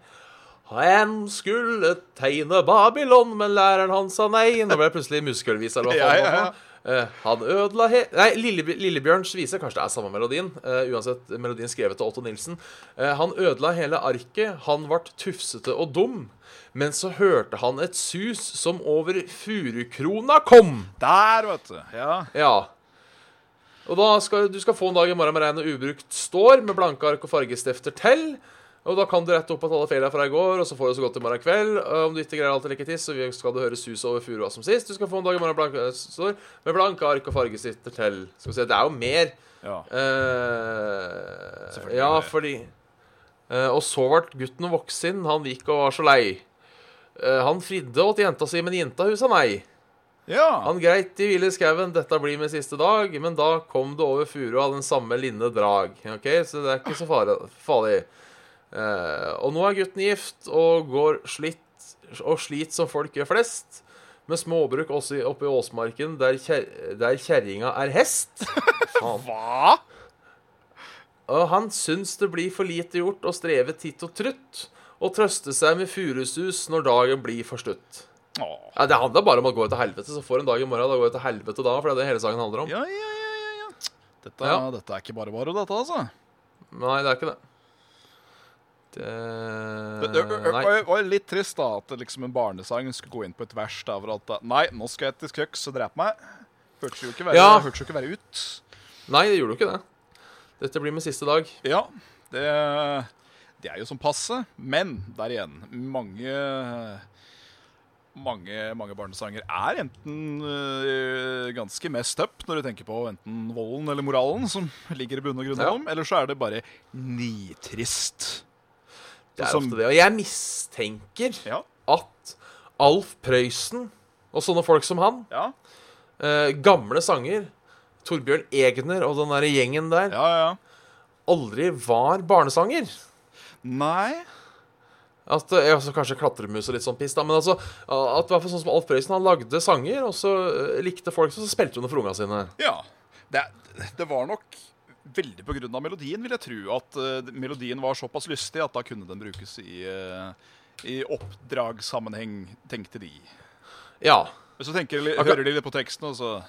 S2: Han skulle tegne Babylon, men læreren hans sa nei. Nå ble jeg plutselig muskelvis, eller hva
S3: Ja,
S2: faen det
S3: ja, ja.
S2: var. Eh, han ødela he... Nei, Lilleby- Lillebjørns vise. Kanskje det er samme melodien. eh, uansett, melodien skrevet av Otto Nilsen. Eh, han ødela hele arket. Han ble tufsete og dum. Men så hørte han et sus som over furukrona kom.
S3: Der, vet du. Ja.
S2: Ja. Og da skal du skal få en dag i morgen med regn og ubrukt står, med blanke ark og fargestifter til. Og da kan du rette opp at alle feila fra i går, og så får du så godt i morgen kveld. Og om du ikke greier alt til like tiss, så skal du høre sus over furua som sist. Du skal få en dag i morgen blanke, eh, står, med blanke ark og fargestifter til. Skal vi se, det er jo mer.
S3: ja.
S2: Eh,
S3: Selvfølgelig
S2: ja,
S3: er det.
S2: fordi eh, Og så ble gutten voksen. Han gikk og var så lei. Eh, Han fridde åt jenta si, men jenta husa meg.
S3: Ja.
S2: Han greit i hvile i skauen, dette blir min siste dag, men da kom det over furua den samme linne drag. Ok, Så det er ikke så fare- farlig. Eh, og nå er gutten gift og går slitt og slit som folk gjør flest, med småbruk også i- oppe i Åsmarken, der kjer- der kjerringa er hest. Faen.
S3: Hva?
S2: Og han syns det blir for lite gjort å streve titt og trutt, og trøste seg med furusus når dagen blir for slutt.
S3: Åh.
S2: Ja, det handler bare om å gå ut til helvete, så får en dag i morgen. Da går jeg til helvete da, for det er det hele sangen handler om.
S3: Ja, ja, ja, ja, ja. Dette,
S2: Ja.
S3: dette er ikke bare bare, dette, altså.
S2: Nei, det er ikke det.
S3: Det, det, det
S2: det Eh, nei.
S3: var- var litt trist da at liksom en barnesang skulle gå inn på et vers der hvor at Nei, nå skal jeg til skøks og drepe meg. Hørtes jo ikke verre,
S2: Ja.
S3: hørtes jo ikke verre ut.
S2: nei, det gjorde jo ikke det. Dette blir min siste dag.
S3: Ja, det, det er jo som passe. Men der igjen, mange mange, mange barnesanger er enten øh, ganske mest up når du tenker på enten volden eller moralen som ligger i bunn og grunn
S2: Ja.
S3: av dem, eller så er det bare nitrist.
S2: Det er
S3: Som-
S2: ofte det. Og jeg mistenker
S3: Ja,
S2: at Alf Prøysen og sånne folk som han,
S3: ja,
S2: eh, gamle sanger, Torbjørn Egner og den derre gjengen der,
S3: ja. ja.
S2: aldri var barnesanger.
S3: Nei.
S2: At, eh, ja, så kanskje klatremus og litt sånn piss, da. Men altså, at i hvert fall sånn som Alf Prøysen, han lagde sanger, og så eh, likte folk det, så spilte hun det for unga sine.
S3: Ja. Det, det var nok veldig på grunn av melodien, vil jeg tro. At eh, melodien var såpass lystig at da kunne den brukes i, eh, i oppdragssammenheng, tenkte de.
S2: Ja.
S3: Men så tenker, de-
S2: Akkurat-
S3: hører de litt på teksten, og så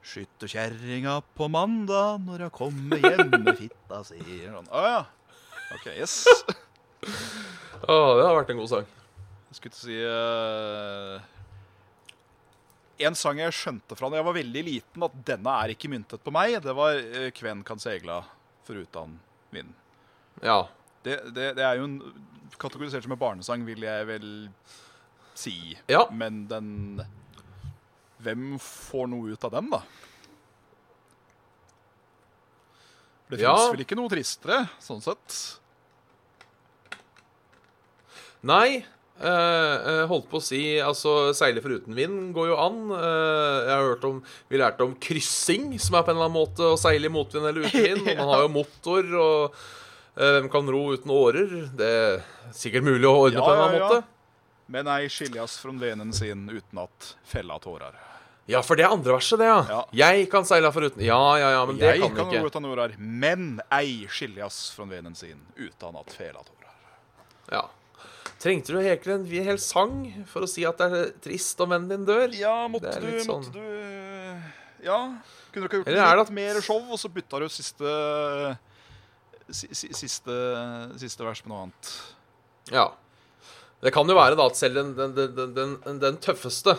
S3: Skytterkjerringa på mandag når jeg kommer hjem med fitta si sånn. Å ja. OK, yes. Jeg
S2: Å, det har vært en god sang.
S3: skulle til å si eh, En sang jeg skjønte fra da jeg var veldig liten, at denne er ikke myntet på meg, det var eh, 'Kven kan segla forutan vind'.
S2: Ja.
S3: Det, det, det er jo en kategorisert som en barnesang, vil jeg vel si.
S2: Ja.
S3: Men den Hvem får noe ut av den, da? For det
S2: Ja.
S3: fins vel ikke noe tristere, sånn sett?
S2: Nei, eh, eh, holdt på å si Altså, seile foruten vind går jo an. Eh, jeg har hørt om Vi lærte om kryssing, som er på en eller annen måte å seile i motvind eller uten vind. Og man har jo motor, og eh, hvem kan ro uten årer? Det er sikkert mulig å ordne
S3: Ja,
S2: på en eller
S3: ja,
S2: annen
S3: ja.
S2: måte.
S3: Men ei skiljas fra venen sin uten at fella tårer.
S2: Ja, for det er andre verset, det, ja. Jeg kan seile foruten Ja, ja, ja, men det
S3: Jeg
S2: kan
S3: kan
S2: vi ikke.
S3: noe ut av tårer, men ei skiljas fra venen sin uten at fela tårer.
S2: Ja. Trengte du egentlig en hel sang for å si at det er trist om vennen din dør?
S3: Ja, måtte
S2: Det er
S3: du,
S2: litt sånn-
S3: måtte du Ja. Kunne du ikke gjort
S2: Eller er det
S3: litt
S2: at-
S3: mer show, og så bytta du siste si- si- Siste, siste vers med noe annet.
S2: Ja. Det kan jo være da at selv den, den, den, den, den, den tøffeste,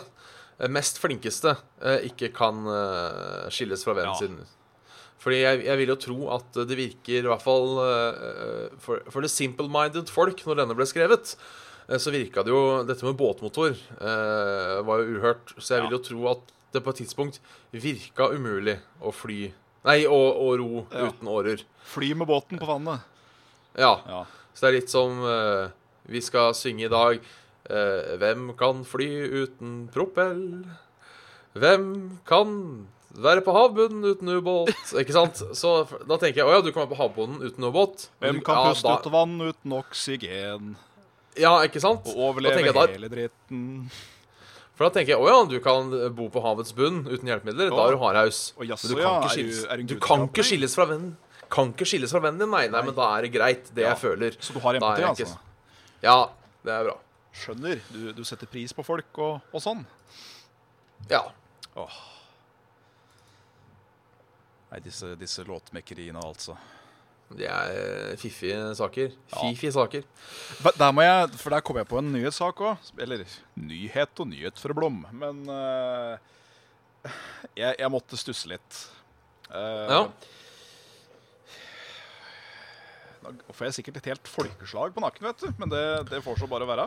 S2: eh, mest flinkeste, eh, ikke kan eh, skilles fra vennen
S3: Ja.
S2: sin. Fordi jeg, jeg vil jo tro at det virker, i hvert fall eh, for, for det simple-minded folk, når denne ble skrevet, eh, så virka det jo Dette med båtmotor eh, var jo uhørt. Så jeg
S3: Ja.
S2: vil jo tro at det på et tidspunkt virka umulig å fly Nei, å, å ro
S3: Ja.
S2: uten årer.
S3: Fly med båten på vannet.
S2: Ja.
S3: Ja.
S2: Så det er litt som eh, vi skal synge i dag. eh, hvem kan fly uten propell? Hvem kan være på havbunnen uten ubåt? Ikke sant? Så f- da tenker jeg å ja, du kan være på havbunnen uten ubåt. Men
S3: Hvem
S2: du-
S3: kan
S2: ja,
S3: puste
S2: da-
S3: ut vann uten oksygen
S2: Ja, ikke
S3: og
S2: sant? Da
S3: overleve
S2: tenker jeg da-
S3: hele dritten?
S2: For da tenker jeg å ja, du kan eh, bo på havets bunn uten hjelpemidler. Da er du hardhaus.
S3: Å, jaså,
S2: Men du kan
S3: ja,
S2: ikke
S3: er du-
S2: skilles,
S3: er du en
S2: du
S3: gud
S2: kan
S3: skaper?
S2: ikke skilles fra vennen Kan ikke skilles fra vennen din, nei, nei, men da er det greit, det
S3: Ja,
S2: jeg føler.
S3: Så du har
S2: Da er
S3: empati,
S2: jeg ikke-
S3: altså?
S2: Ja, det er bra.
S3: Skjønner. Du, du setter pris på folk og, og sånn?
S2: Ja.
S3: Åh. Nei, disse, disse låtmekkeriene, altså.
S2: Det er eh, fiffige saker.
S3: Ja.
S2: Fiffige saker.
S3: Hva- Der må jeg, for der kom jeg på en nyhetssak òg. Eller nyhet og nyhet for Blom. Men eh, jeg, jeg måtte stusse litt. Eh,
S2: Ja.
S3: Nå får jeg sikkert et helt folkeslag på nakken, vet du. Men det, det får så bare være.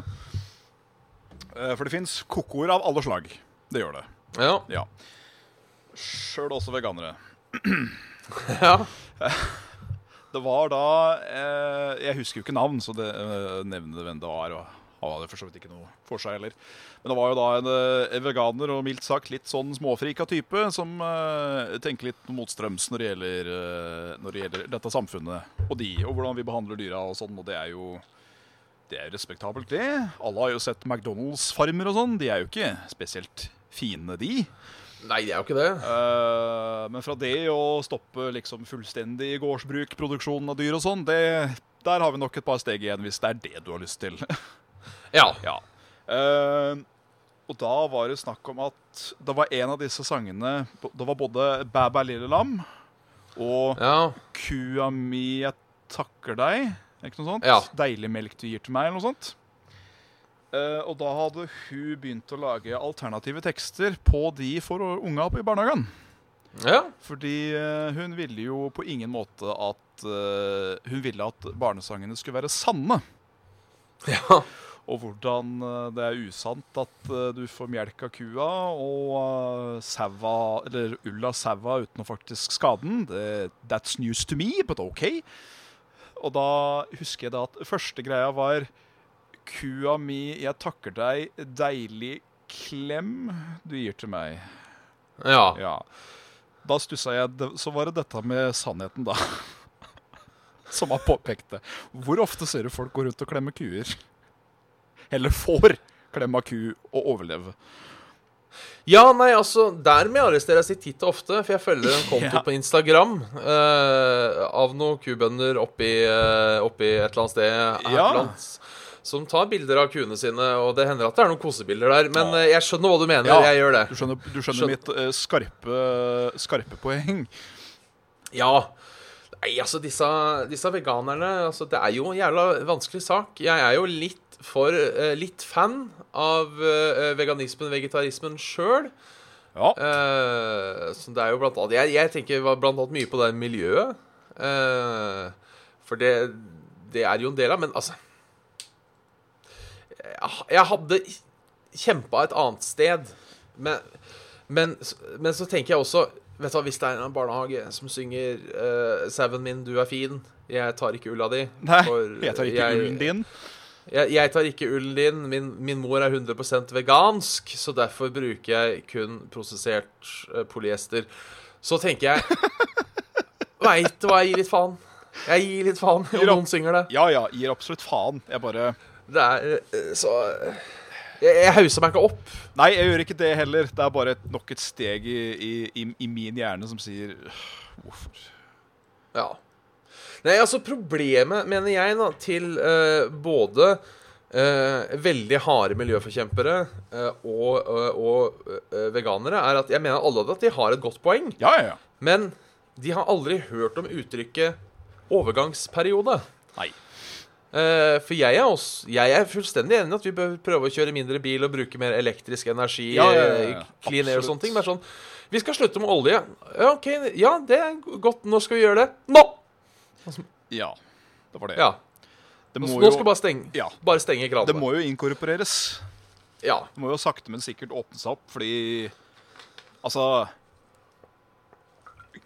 S3: Eh, for det fins kokkord av alle slag. Det gjør det.
S2: Ja.
S3: Ja. Sjøl også veganere.
S2: ja.
S3: Det var da eh, Jeg husker jo ikke navn, så det eh, nevner hvem det var. Og Han hadde for så vidt ikke noe for seg heller. Men det var jo da en eh, veganer og mildt sagt litt sånn småfrika type som eh, tenker litt motstrøms når det, gjelder, eh, når det gjelder dette samfunnet og de, og hvordan vi behandler dyra og sånn, og det er jo det er jo respektabelt, det. Alle har jo sett McDonald's-farmer og sånn. De er jo ikke spesielt fine, de.
S2: Nei, det er jo ikke det.
S3: Eh, men fra det å stoppe liksom fullstendig gårdsbruk, produksjonen av dyr og sånn, det, der har vi nok et par steg igjen, hvis det er det du har lyst til.
S2: Ja.
S3: ja. Eh, og da var det snakk om at det var en av disse sangene Det var både Bæ bæ lille lam og
S2: ja.
S3: Kua mi, jeg takker deg. Ikke noe sånt?
S2: Ja.
S3: Deilig melk du gir til meg, eller noe sånt. Eh, og da hadde hun begynt å lage alternative tekster på de for unga i barnehagen.
S2: ja.
S3: Fordi eh, hun ville jo på ingen måte at eh, Hun ville at barnesangene skulle være sanne.
S2: Ja.
S3: Og hvordan eh, det er usant at eh, du får melk av kua og eh, saua, eller ull av saua uten å faktisk skade den. Det- That's news to me, but OK. Og da husker jeg da at første greia var Kua mi, jeg takker deg, deilig klem du gir til meg.
S2: ja.
S3: Ja. Da stussa jeg. Det- Så var det dette med sannheten, da. Som han påpekte. Hvor ofte ser du folk gå rundt og klemme kuer? Eller får klemme av ku og overleve?
S2: Ja, nei, altså, der må jeg arrestere jeg titt og ofte, for jeg følger en konto
S3: Ja.
S2: på Instagram eh, av noen kubønder oppi, eh, oppi et eller annet sted her
S3: Ja.
S2: blant, som tar bilder av kuene sine, og det hender at det er noen kosebilder der, men
S3: Ja.
S2: eh, jeg skjønner hva du mener, jeg gjør det.
S3: Du skjønner, du skjønner
S2: Skjøn-
S3: mitt eh, skarpe, skarpe poeng?
S2: Ja. Nei, altså, disse, disse veganerne altså, Det er jo en jævla vanskelig sak. Jeg er jo litt for eh, Litt fan av eh, veganismen, vegetarismen sjøl.
S3: Ja.
S2: Eh, så det er jo blant annet Jeg, jeg tenker va- blant annet mye på det miljøet. eh, for det, det er jo en del av Men altså Jeg, jeg hadde kjempa et annet sted. Men, men, s- men så tenker jeg også Vet du hva, Hvis det er en barnehage som synger uh, 'Sauen min, du er fin', jeg tar ikke ulla di
S3: Nei,
S2: for
S3: jeg tar ikke
S2: jeg-
S3: ullen din.
S2: jeg, jeg tar ikke ullen din. Min, min mor er 100 vegansk, så derfor bruker jeg kun prosessert eh, polyester. Så tenker jeg Veit du hva, jeg gir litt faen. Jeg gir litt faen om
S3: Gir opp.
S2: noen synger det.
S3: Ja ja, gir absolutt faen. Jeg bare
S2: Det er eh, så eh, Jeg, jeg hauser meg ikke opp.
S3: Nei, jeg gjør ikke det heller. Det er bare et, nok et steg i, i, i, i min hjerne som sier «Øh, Hvorfor?
S2: Ja. Nei, altså problemet, mener jeg, da, til eh, både eh, veldig harde miljøforkjempere eh, og, og, og eh, veganere, er at jeg mener alle at de har et godt poeng.
S3: Ja ja ja.
S2: Men de har aldri hørt om uttrykket overgangsperiode.
S3: Nei.
S2: Eh, for jeg er, også, jeg er fullstendig enig i at vi bør prøve å kjøre mindre bil og bruke mer elektrisk energi.
S3: Ja, ja, ja, ja.
S2: eh, Clean air og
S3: Absolutt.
S2: sånne ting. Men sånn, vi skal slutte med olje. Ja, ok, ja, det er godt. Når skal vi gjøre det? Nå!
S3: Ja. Det var det.
S2: Ja,
S3: det
S2: Nå
S3: må
S2: nå
S3: jo-
S2: skal vi bare stenge,
S3: Ja.
S2: bare stenge
S3: Det
S2: kranene.
S3: må jo inkorporeres.
S2: Ja.
S3: Det må jo sakte, men sikkert åpne seg opp, fordi Altså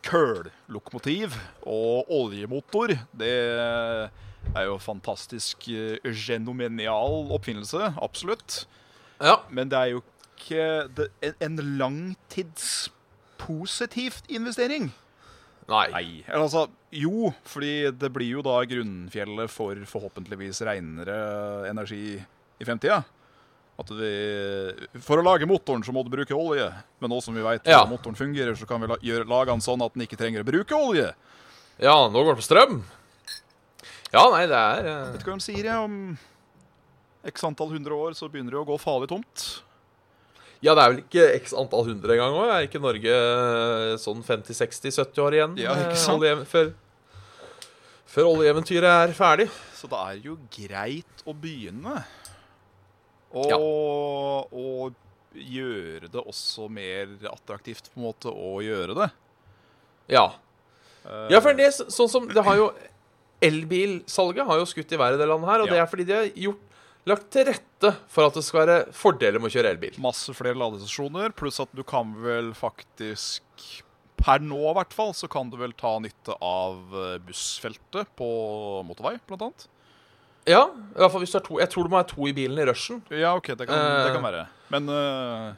S3: Køllokomotiv og oljemotor, det er jo en fantastisk eh, genomenial oppfinnelse, absolutt.
S2: ja.
S3: Men det er jo ikke det, en, en langtidspositivt investering.
S2: Nei.
S3: Nei. Eller altså, jo, fordi det blir jo da grunnfjellet for forhåpentligvis renere energi i fremtida. At vi, for å lage motoren så må du bruke olje. Men nå som vi veit
S2: Ja.
S3: hvordan motoren fungerer, så kan vi la, gjøre, lage den sånn at den ikke trenger å bruke olje.
S2: Ja, nå går det på strøm. Ja, nei, det er eh,
S3: Vet du hva de sier, jeg? Om x antall hundre år så begynner det å gå farlig tomt.
S2: Ja, det er vel ikke x antall hundre engang òg? Er ikke Norge eh, sånn 50-60-70 år igjen?
S3: Ja, ikke
S2: eh,
S3: sant?
S2: olje- før, før oljeeventyret er ferdig?
S3: Så det er jo greit å begynne. Og,
S2: Ja.
S3: og gjøre det også mer attraktivt, på en måte, å gjøre det.
S2: Ja.
S3: Eh,
S2: Ja, for det, er så- sånn som det har jo Elbilsalget har jo skutt i været i det landet her, og
S3: Ja.
S2: det er fordi de har gjort, lagt til rette for at det skal være fordeler med å kjøre elbil.
S3: masse flere ladestasjoner, pluss at du kan vel faktisk Per nå, i hvert fall, så kan du vel ta nytte av eh, bussfeltet på motorvei, blant annet.
S2: Ja, i hvert fall hvis du er to. Jeg tror det må være to i bilen i rushen.
S3: Ja, OK, det kan, det kan være. Men eh,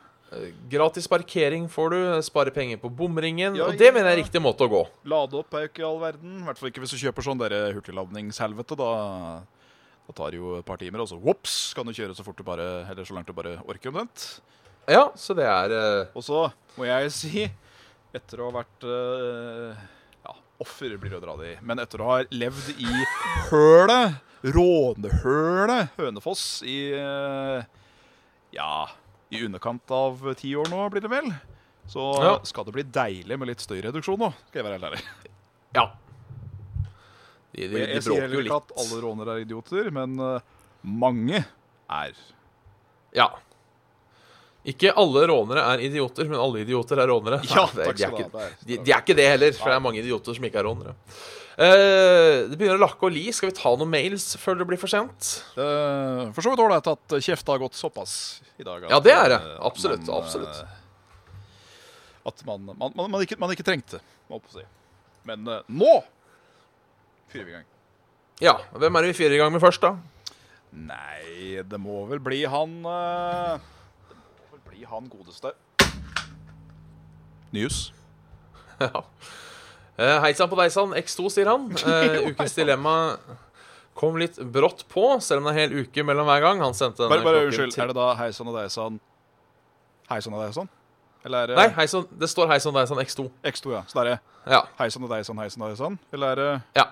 S2: Gratis parkering får du, eh, spare penger på bomringen.
S3: Ja,
S2: og det mener
S3: ja.
S2: jeg er riktig måte å gå.
S3: lade opp er jo ikke all verden. I hvert fall ikke hvis du kjøper sånn der hurtigladningshelvete. Da, da tar det jo et par timer, og så whoops, kan du kjøre så fort du bare Eller så langt du bare orker, omtrent.
S2: Ja, så det er eh,
S3: Og så må jeg si, etter å ha vært eh, ja, offer blir å dra det i, men etter å ha levd i hølet, rånehølet Hønefoss i eh, ja, i underkant av ti år nå, blir det vel. Så
S2: Ja.
S3: skal det bli deilig med litt støyreduksjon nå, skal jeg være helt ærlig.
S2: Ja. De,
S3: Jeg,
S2: de, de
S3: jeg sier
S2: bråker
S3: heller
S2: jo
S3: ikke
S2: litt.
S3: at alle rånere er idioter, men eh, mange er
S2: Ja. Ikke alle rånere er idioter, men alle idioter er rånere.
S3: Ja,
S2: Nei,
S3: takk
S2: de,
S3: skal du
S2: er ikke,
S3: ha.
S2: de, de er ikke det heller, for det er mange idioter som ikke er rånere. Eh, det begynner å lakke og li. Skal vi ta noen mails før det blir for sent?
S3: Eh, For så vidt ålreit at kjefta har gått såpass i dag. at,
S2: Ja, det er det.
S3: eh,
S2: Absolutt,
S3: man, eh,
S2: absolutt.
S3: At man, man, man, man, ikke, man ikke trengte, må jeg på å si. Men eh, nå fyrer vi i gang.
S2: Ja. Hvem er det vi fyrer i gang med først, da?
S3: Nei, det må vel bli han eh, Det må vel bli han godeste. News.
S2: Ja. Eh, Hei sann på deg sann, X2, sier han. Eh, ukens dilemma kom litt brått på, selv om det er en hel uke mellom hver gang. Han sendte denne
S3: Bare, bare
S2: klokken
S3: unnskyld.
S2: til-
S3: Er det da hei sann og dei sann Hei sann og dei sann? Eller er det
S2: Nei, hei sann, det står hei sann, deg sann, X2.
S3: X2, ja. Så det er det
S2: Ja.
S3: hei sann og dei sann, hei sann og dei sann? Eller eh, er det
S2: Ja.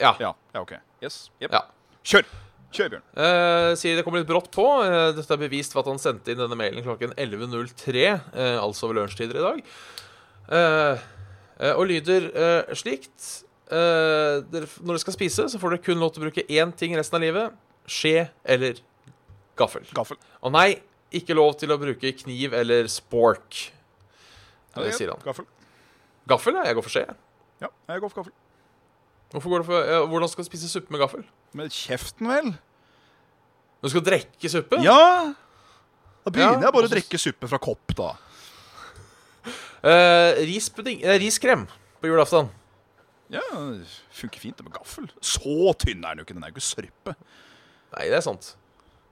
S2: Ja.
S3: Ja, ja OK. Yes. Jep.
S2: ja.
S3: Kjør! Kjør, Bjørn.
S2: Eh, sier det kommer litt brått på. Eh, dette er bevist ved at han sendte inn denne mailen klokken 11.03, eh, altså ved lunsjtider i dag. Eh, eh, og lyder eh, slikt eh, dere, f- Når dere skal spise, så får dere kun lov til å bruke én ting resten av livet. Skje eller gaffel.
S3: Gaffel.
S2: Og nei, ikke lov til å bruke kniv eller spork. Ja, det sier han.
S3: Gaffel.
S2: Gaffel, ja. Jeg går for skje. jeg.
S3: Ja, jeg går for gaffel.
S2: Hvorfor går du for, eh, hvordan skal du spise suppe med gaffel?
S3: Med kjeften, vel?
S2: Du skal drikke suppe?
S3: Ja! Da begynner
S2: Ja,
S3: jeg bare
S2: og
S3: å
S2: så-
S3: drikke suppe fra kopp, da.
S2: Eh, rispudding eh, Riskrem på julaften.
S3: Ja, Funker fint det med gaffel. Så tynn er den jo ikke. Den er jo ikke sørpe.
S2: Nei, det er sant.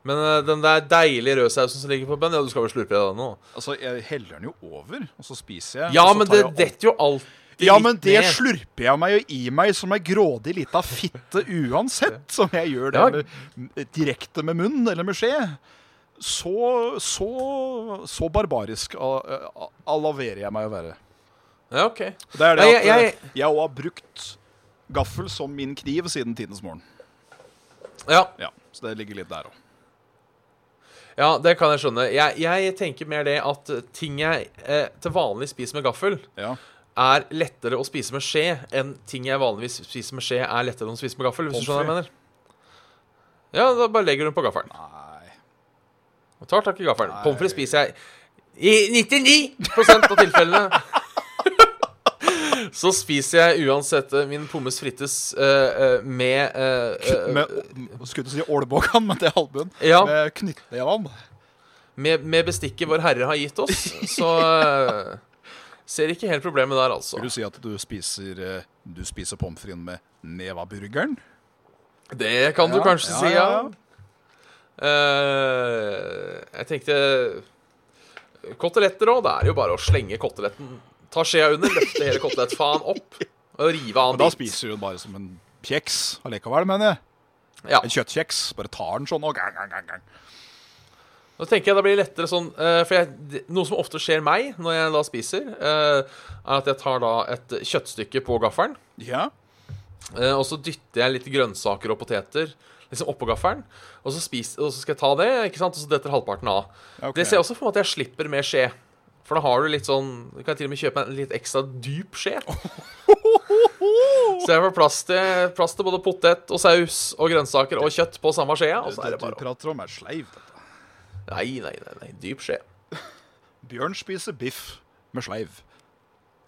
S2: Men eh, den der deilige rødsausen som ligger på bønn, ja, du skal vel slurpe i deg den nå?
S3: Altså, Jeg heller den jo over, og så spiser jeg.
S2: Ja,
S3: og så
S2: men
S3: tar
S2: det
S3: jeg opp-
S2: detter jo alltid
S3: Ja, men det
S2: ned.
S3: slurper jeg meg jo i meg som ei grådig lita fitte uansett. Som jeg gjør det
S2: Ja.
S3: med, direkte med munn eller med skje. Så, så, så barbarisk a- a- alaverer jeg meg å være.
S2: Ja, ok.
S3: Det er det at
S2: Nei, jeg-
S3: jeg, jeg også har brukt gaffel som min kniv siden tidens morgen.
S2: Ja,
S3: Ja, så det ligger litt der òg.
S2: ja, det kan jeg skjønne. Jeg, jeg tenker mer det at ting jeg eh, til vanlig spiser med gaffel,
S3: Ja.
S2: er lettere å spise med skje enn ting jeg vanligvis spiser med skje, er lettere å spise med gaffel. Hvis du skjønner hva jeg mener. Ja, da bare legger du den på gaffelen.
S3: Nei.
S2: Og tar tak i gaffelen.
S3: Nei.
S2: Pommes frites spiser jeg i 99 av tilfellene. Så spiser jeg uansett eh, min pommes frites eh, eh, med eh, eh,
S3: Med, skulle til å si olbågan, men det er albuen.
S2: Ja,
S3: Med knyttneven.
S2: med, med bestikket Vår Herre har gitt oss. Så eh, ser ikke helt problemet der, altså.
S3: Vil du si at du spiser, eh, du spiser pommes frites med nevaburgeren?
S2: Det kan du
S3: Ja,
S2: kanskje
S3: ja,
S2: si, ja.
S3: ja, ja.
S2: Eh, jeg tenkte Koteletter òg. Da er det jo bare å slenge koteletten. Ta skjea under, løfte hele kotelettfaen opp og rive av en
S3: Men da
S2: bit.
S3: spiser du den bare som en kjeks allikevel, mener jeg.
S2: Ja.
S3: En kjøttkjeks. Bare tar den sånn og gang, gang, gang, gang.
S2: Nå tenker jeg det blir lettere sånn eh, For jeg, det- noe som ofte skjer meg når jeg da spiser, eh, er at jeg tar da et kjøttstykke på gaffelen,
S3: Ja.
S2: eh, og så dytter jeg litt grønnsaker og poteter liksom oppå gaffelen, og så, spis, og så skal jeg ta det, ikke sant? og så detter halvparten av.
S3: ok.
S2: Det ser jeg også for meg at jeg slipper med skje. For da har du litt sånn Du kan til og med kjøpe en litt ekstra dyp skje. Så jeg får plass til, plass til både potet og saus og grønnsaker og kjøtt på samme skjea. Og så Altså, er
S3: Det
S2: det
S3: du
S2: bare å-
S3: prater om, er sleiv. dette.
S2: Nei, nei, nei, nei. Dyp skje.
S3: Bjørn spiser biff med sleiv.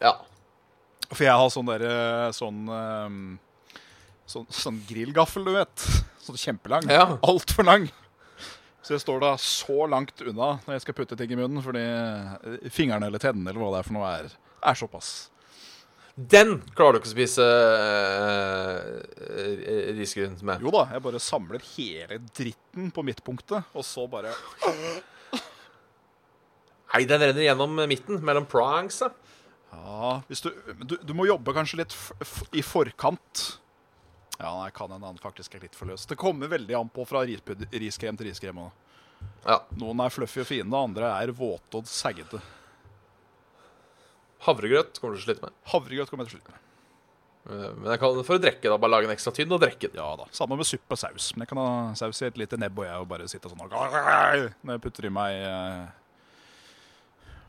S2: Ja.
S3: For jeg har sånn derre sånn, ehm, sånn Sånn grillgaffel, du vet. Sånn kjempelang.
S2: Ja.
S3: Altfor lang. Så jeg står da så langt unna når jeg skal putte ting i munnen, fordi eh, fingrene eller tennene eller hva det er for noe, er, er såpass.
S2: Den klarer du ikke å spise eh, eh, risgryn med.
S3: Jo da, jeg bare samler hele dritten på midtpunktet, og så bare
S2: Nei, den renner gjennom midten, mellom prongs. da.
S3: Ja, hvis du, men du, du må jobbe kanskje litt f f i forkant. Ja, nei, kan hende han faktisk er litt for løs. Det kommer veldig an på fra rispud- riskrem til riskrem. også.
S2: Ja.
S3: Noen er fluffy og fine, andre er våte og saggete.
S2: Havregrøt kommer du til å slite med.
S3: Havregrøt kommer jeg til slutt med.
S2: Eh, Men jeg kan, for å drekke, da. Bare lage den ekstra tynn og drekke den.
S3: Ja da. Samme med suppe og saus. Men jeg kan ha saus i et lite nebb og jeg og bare sitte sånn og Når jeg putter i meg eh...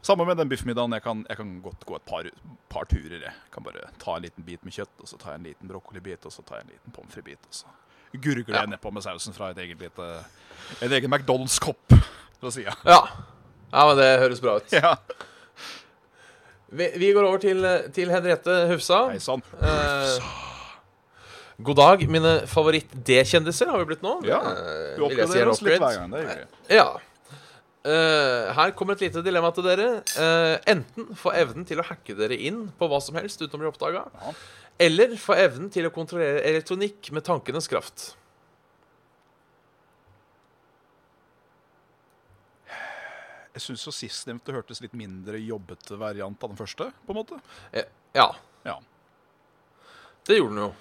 S3: Samme med den biffmiddagen. Jeg kan, jeg kan godt gå et par, par turer. Jeg kan bare ta en liten bit med kjøtt, og så tar jeg en liten brokkolibit, og så tar jeg en liten pommes frites-bit, og så gurgler
S2: Ja.
S3: jeg nedpå med sausen fra et eget lite En egen McDonald's-kopp fra sida.
S2: Ja. ja, men det høres bra ut.
S3: Ja.
S2: Vi, vi går over til, eh, til Henriette Hufsa.
S3: Hei sann.
S2: Eh, God dag, mine favoritt-D-kjendiser har vi blitt nå.
S3: Ja,
S2: Eh,
S3: Du
S2: vil jeg si er
S3: oppgraderer oss litt
S2: upgrades.
S3: hver gang. Det er hyggelig.
S2: Ja. Eh, her kommer et lite dilemma til dere. Eh, enten få evnen til å hacke dere inn på hva som helst uten å bli oppdaga,
S3: Ja.
S2: eller få evnen til å kontrollere elektronikk med tankenes kraft.
S3: Jeg syns jo sistnevnte hørtes litt mindre jobbete variant av den første, på en måte.
S2: Eh, ja,
S3: Ja.
S2: det gjorde den jo.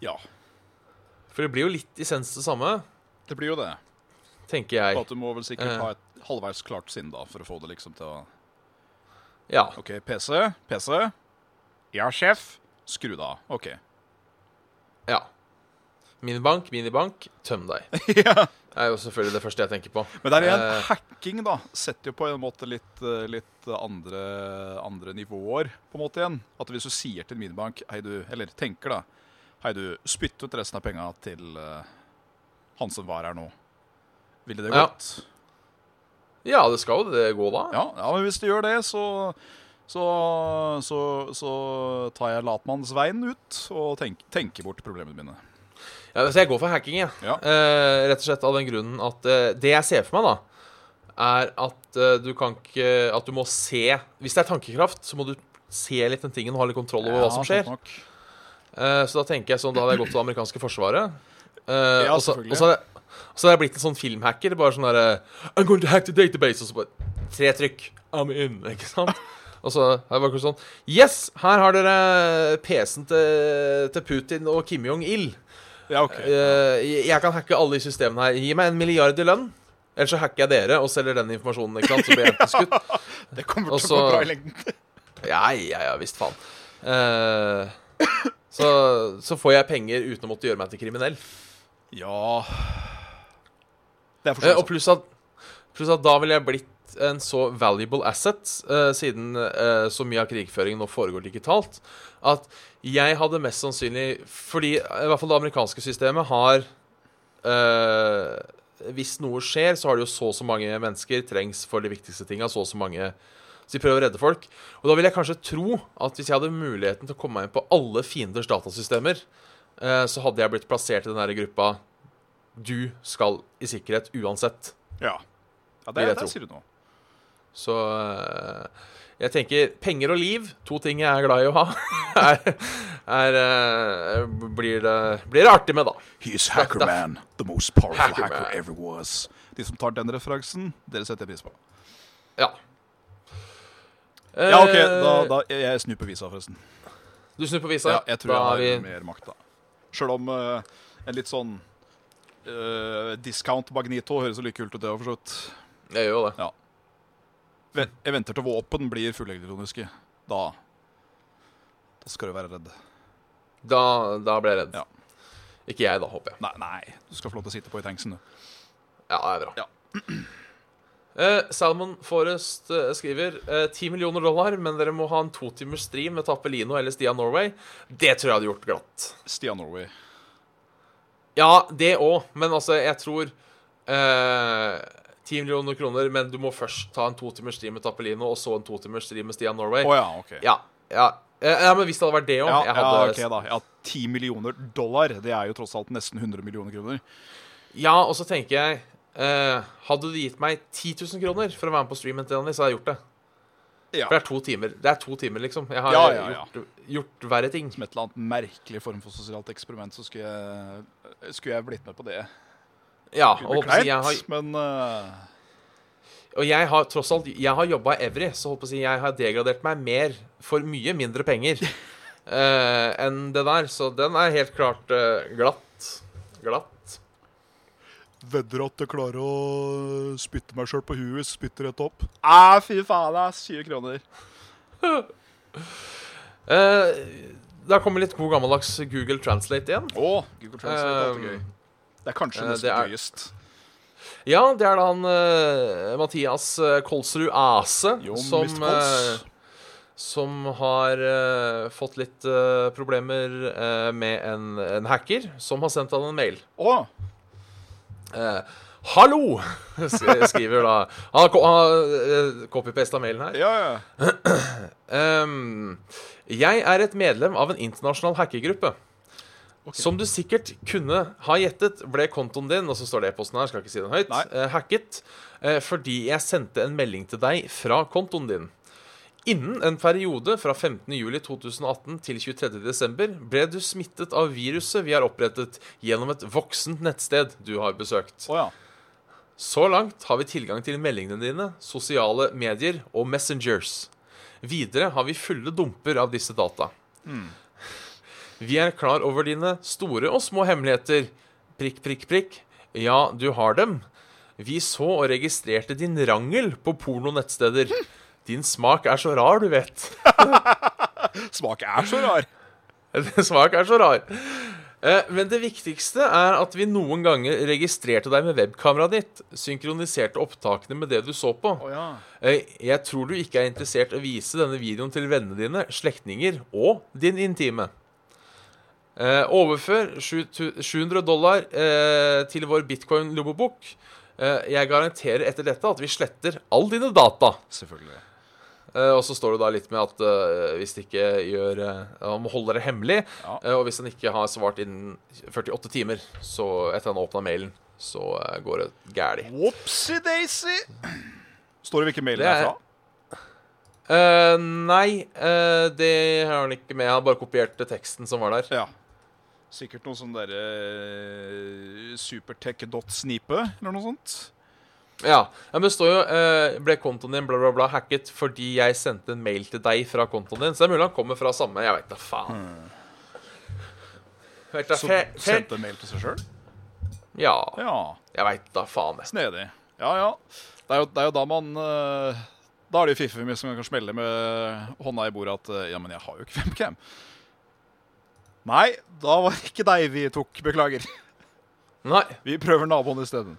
S3: ja.
S2: For det blir jo litt essens det samme,
S3: Det blir jo det.
S2: tenker jeg.
S3: På at du må vel sikkert
S2: Eh.
S3: ha et halvveis klart sinn da, for å få det liksom til å
S2: Ja.
S3: OK, PC, PC. Ja, sjef. Skru det av. OK.
S2: ja. Minibank, minibank, tøm deg.
S3: ja.
S2: Det er jo selvfølgelig det første jeg tenker på.
S3: Men der igjen,
S2: Eh.
S3: hacking da, setter jo på en måte litt, eh, litt andre, andre nivåer, på en måte igjen. At hvis du sier til min bank, hei du, eller tenker da, hei du, spytt ut resten av penga til eh, han som var her nå. Ville det
S2: Ja.
S3: gått?
S2: Ja, det skal jo det gå da.
S3: Ja, ja men hvis du gjør det, så, så, så, så tar jeg latmannsveien ut og tenk, tenker bort problemene mine.
S2: Ja, så jeg går for hacking, jeg.
S3: Ja.
S2: Eh, rett og slett av den grunnen at eh, Det jeg ser for meg, da, er at eh, du kan ikke At du må se Hvis det er tankekraft, så må du se litt den tingen og ha litt kontroll over hva som
S3: Ja, sånn. sant
S2: skjer.
S3: nok.
S2: Eh, så da tenker jeg sånn Da hadde jeg gått til det amerikanske forsvaret. Eh,
S3: Ja,
S2: og så-
S3: selvfølgelig.
S2: og så hadde jeg- og så hadde jeg blitt en sånn filmhacker. Bare sånn derre I'm going to hack the database. Og så bare tre trykk. I'm in. Ikke sant? Og så er det bare sånn Yes! Her har dere PC-en til, til Putin og Kim Jong-il.
S3: Ja, ok.
S2: Eh, jeg- jeg kan hacke alle de systemene her. Gi meg en milliard i lønn. Ellers så hacker jeg dere og selger den informasjonen. ikke sant? Så blir jeg enten skutt.
S3: Det kommer
S2: og
S3: til å gå
S2: så-
S3: bra i lengden.
S2: Ja, ja, ja, visst faen. Eh, så, så får jeg penger uten å måtte gjøre meg til kriminell.
S3: Ja Det er
S2: Eh,
S3: forståelig.
S2: og pluss at, pluss at da ville jeg blitt en så valuable asset, eh, siden eh, så mye av krigføringen nå foregår digitalt, at jeg hadde mest sannsynlig Fordi eh, i hvert fall det amerikanske systemet har eh, Hvis noe skjer, så har det jo så og så mange mennesker trengs for de viktigste tinga, så og så mange Så de prøver å redde folk. Og da vil jeg kanskje tro at hvis jeg hadde muligheten til å komme meg inn på alle fienders datasystemer, eh, så hadde jeg blitt plassert i den der gruppa du skal i sikkerhet uansett.
S3: Ja. ja
S2: Vil
S3: det,
S2: jeg
S3: der
S2: tro.
S3: sier du noe.
S2: Så eh, jeg tenker penger og liv, to ting jeg er glad i å ha, er, er, eh, blir, det, blir det artig med, da.
S3: He's
S2: Hacker
S3: Hackerman, the most powerful
S2: Hacker hacker Man.
S3: ever was. De som tar den referansen, dere setter jeg pris på.
S2: Ja.
S3: Ja, OK,
S2: Eh,
S3: da, da jeg- jeg snur på visa, forresten.
S2: Du snur på visa?
S3: Ja, jeg tror jeg har
S2: vi-
S3: mer makt, da. Sjøl om eh, en litt sånn eh, discount Magnito høres jo like kult ut, det òg, for så vidt.
S2: Jeg gjør jo det.
S3: Ven- Jeg venter til våpen blir fullelektroniske. Da Da skal du være redd.
S2: Da, da ble jeg redd.
S3: Ja.
S2: Ikke jeg, da, håper jeg.
S3: Nei, nei, du skal få lov til å sitte på i tanksen, du.
S2: Ja, det er bra.
S3: Ja.
S2: Eh, Salmon Forrest eh, skriver eh, 10 millioner dollar, men dere må ha en to timers stream med Tappelino eller Stian Norway. Det tror jeg hadde gjort glatt.
S3: Stian Norway.
S2: Ja, det òg, men altså, jeg tror eh, 10 millioner kroner, men du må først ta en to timers stream med Tappelino, og så en to timers stream med Stian Norway.
S3: Å Eh, ja, OK.
S2: ja, ja. Eh, ja, men hvis det hadde vært det òg
S3: Ja,
S2: jeg
S3: ja,
S2: hadde-
S3: ok da. Ja, 10 millioner dollar, det er jo tross alt nesten 100 millioner kroner.
S2: ja, og så tenker jeg eh, Hadde du gitt meg 10 000 kroner for å være med på streamen til Dennis, så hadde jeg gjort det.
S3: Ja.
S2: For det er to timer, det er to timer liksom. Jeg har
S3: Ja, ja, ja.
S2: Gjort, gjort verre ting.
S3: Som et eller annet merkelig form for sosialt eksperiment, så skulle jeg, skulle jeg blitt med på det.
S2: Ja,
S3: Det blir
S2: og, håper jeg, si, jeg
S3: kleint,
S2: har,
S3: men eh,
S2: og jeg har tross alt Jeg har jobba evrig, så håper jeg, å si, jeg har degradert meg mer for mye mindre penger eh, enn det der. Så den er helt klart eh, glatt. Glatt.
S3: Vedder at jeg klarer å spytte meg sjøl på huet. Spytter rett opp. Ah, fy faen, det er 20 kroner.
S2: Eh, da kommer litt god gammeldags Google Translate igjen.
S3: Å, Google Translate er alltid
S2: Eh,
S3: gøy. Det er kanskje
S2: eh,
S3: nesten
S2: det er-
S3: gøyest.
S2: Ja, det er da han eh, Mathias eh, Kolsrud Ase
S3: Jo,
S2: som,
S3: Mr. Kols.
S2: eh, som har eh, fått litt eh, problemer eh, med en, en hacker som har sendt han en mail.
S3: Å,
S2: Eh, Hallo! sk- skriver da Han har ko- han har copypasta mailen her.
S3: ja, ja.
S2: Ehm, jeg er et medlem av en internasjonal hackergruppe. Som du sikkert kunne ha gjettet, ble kontoen din og så står det e-posten her, skal ikke si den høyt,
S3: Nei.
S2: eh, hacket eh, fordi jeg sendte en melding til deg fra kontoen din. Innen en periode fra 15.07.2018 til 23.12. ble du smittet av viruset vi har opprettet gjennom et voksent nettsted du har besøkt.
S3: Å, ja.
S2: Så langt har vi tilgang til meldingene dine, sosiale medier og messengers. Videre har vi fulle dumper av disse data. Vi er klar over dine store og små hemmeligheter. Prikk, prikk, prikk. Ja, du har dem. Vi så og registrerte din rangel på pornonettsteder. Din smak er så rar, du vet.
S3: Smak er så rar.
S2: Smak er så rar. Eh, Men det viktigste er at vi noen ganger registrerte deg med webkameraet ditt, synkroniserte opptakene med det du så på.
S3: Å, ja.
S2: Eh, Jeg tror du ikke er interessert i å vise denne videoen til vennene dine, slektninger og din intime. Eh, overfør 700 dollar eh, til vår bitcoin-lommebok. Eh, jeg garanterer etter dette at vi sletter all dine data.
S3: Selvfølgelig.
S2: Eh, og så står det da litt med at eh, hvis det ikke gjør eh, Han må holde det hemmelig.
S3: Ja.
S2: eh, og hvis han ikke har svart innen 48 timer så etter han åpna mailen, så eh, går det gæli.
S3: Whoopsie-daisy. Står det hvilken mail det
S2: Det
S3: er
S2: er-
S3: fra?
S2: Eh, nei, eh, det har han ikke med. Han bare kopierte teksten som var der.
S3: Ja. Sikkert noe sånn eh, derre supertech.snipe eller noe sånt.
S2: Ja, ja, Men det står jo eh, ble kontoen din bla, bla, bla hacket fordi jeg sendte en mail til deg fra kontoen din. Så det er mulig han kommer fra samme Jeg veit da faen. Vet da,
S3: Som
S2: fe- fe-
S3: Hmm. sendte mail til seg sjøl?
S2: Ja,
S3: Ja.
S2: jeg veit da faen. jeg.
S3: Snedig. Ja, ja. Det er jo, det er jo da man eh, Da er det jo fiffig som kan smelle med hånda i bordet at eh, Ja, men jeg har jo ikke webcam. Nei, da var det ikke deg vi tok. Beklager.
S2: Nei.
S3: Vi prøver naboen isteden.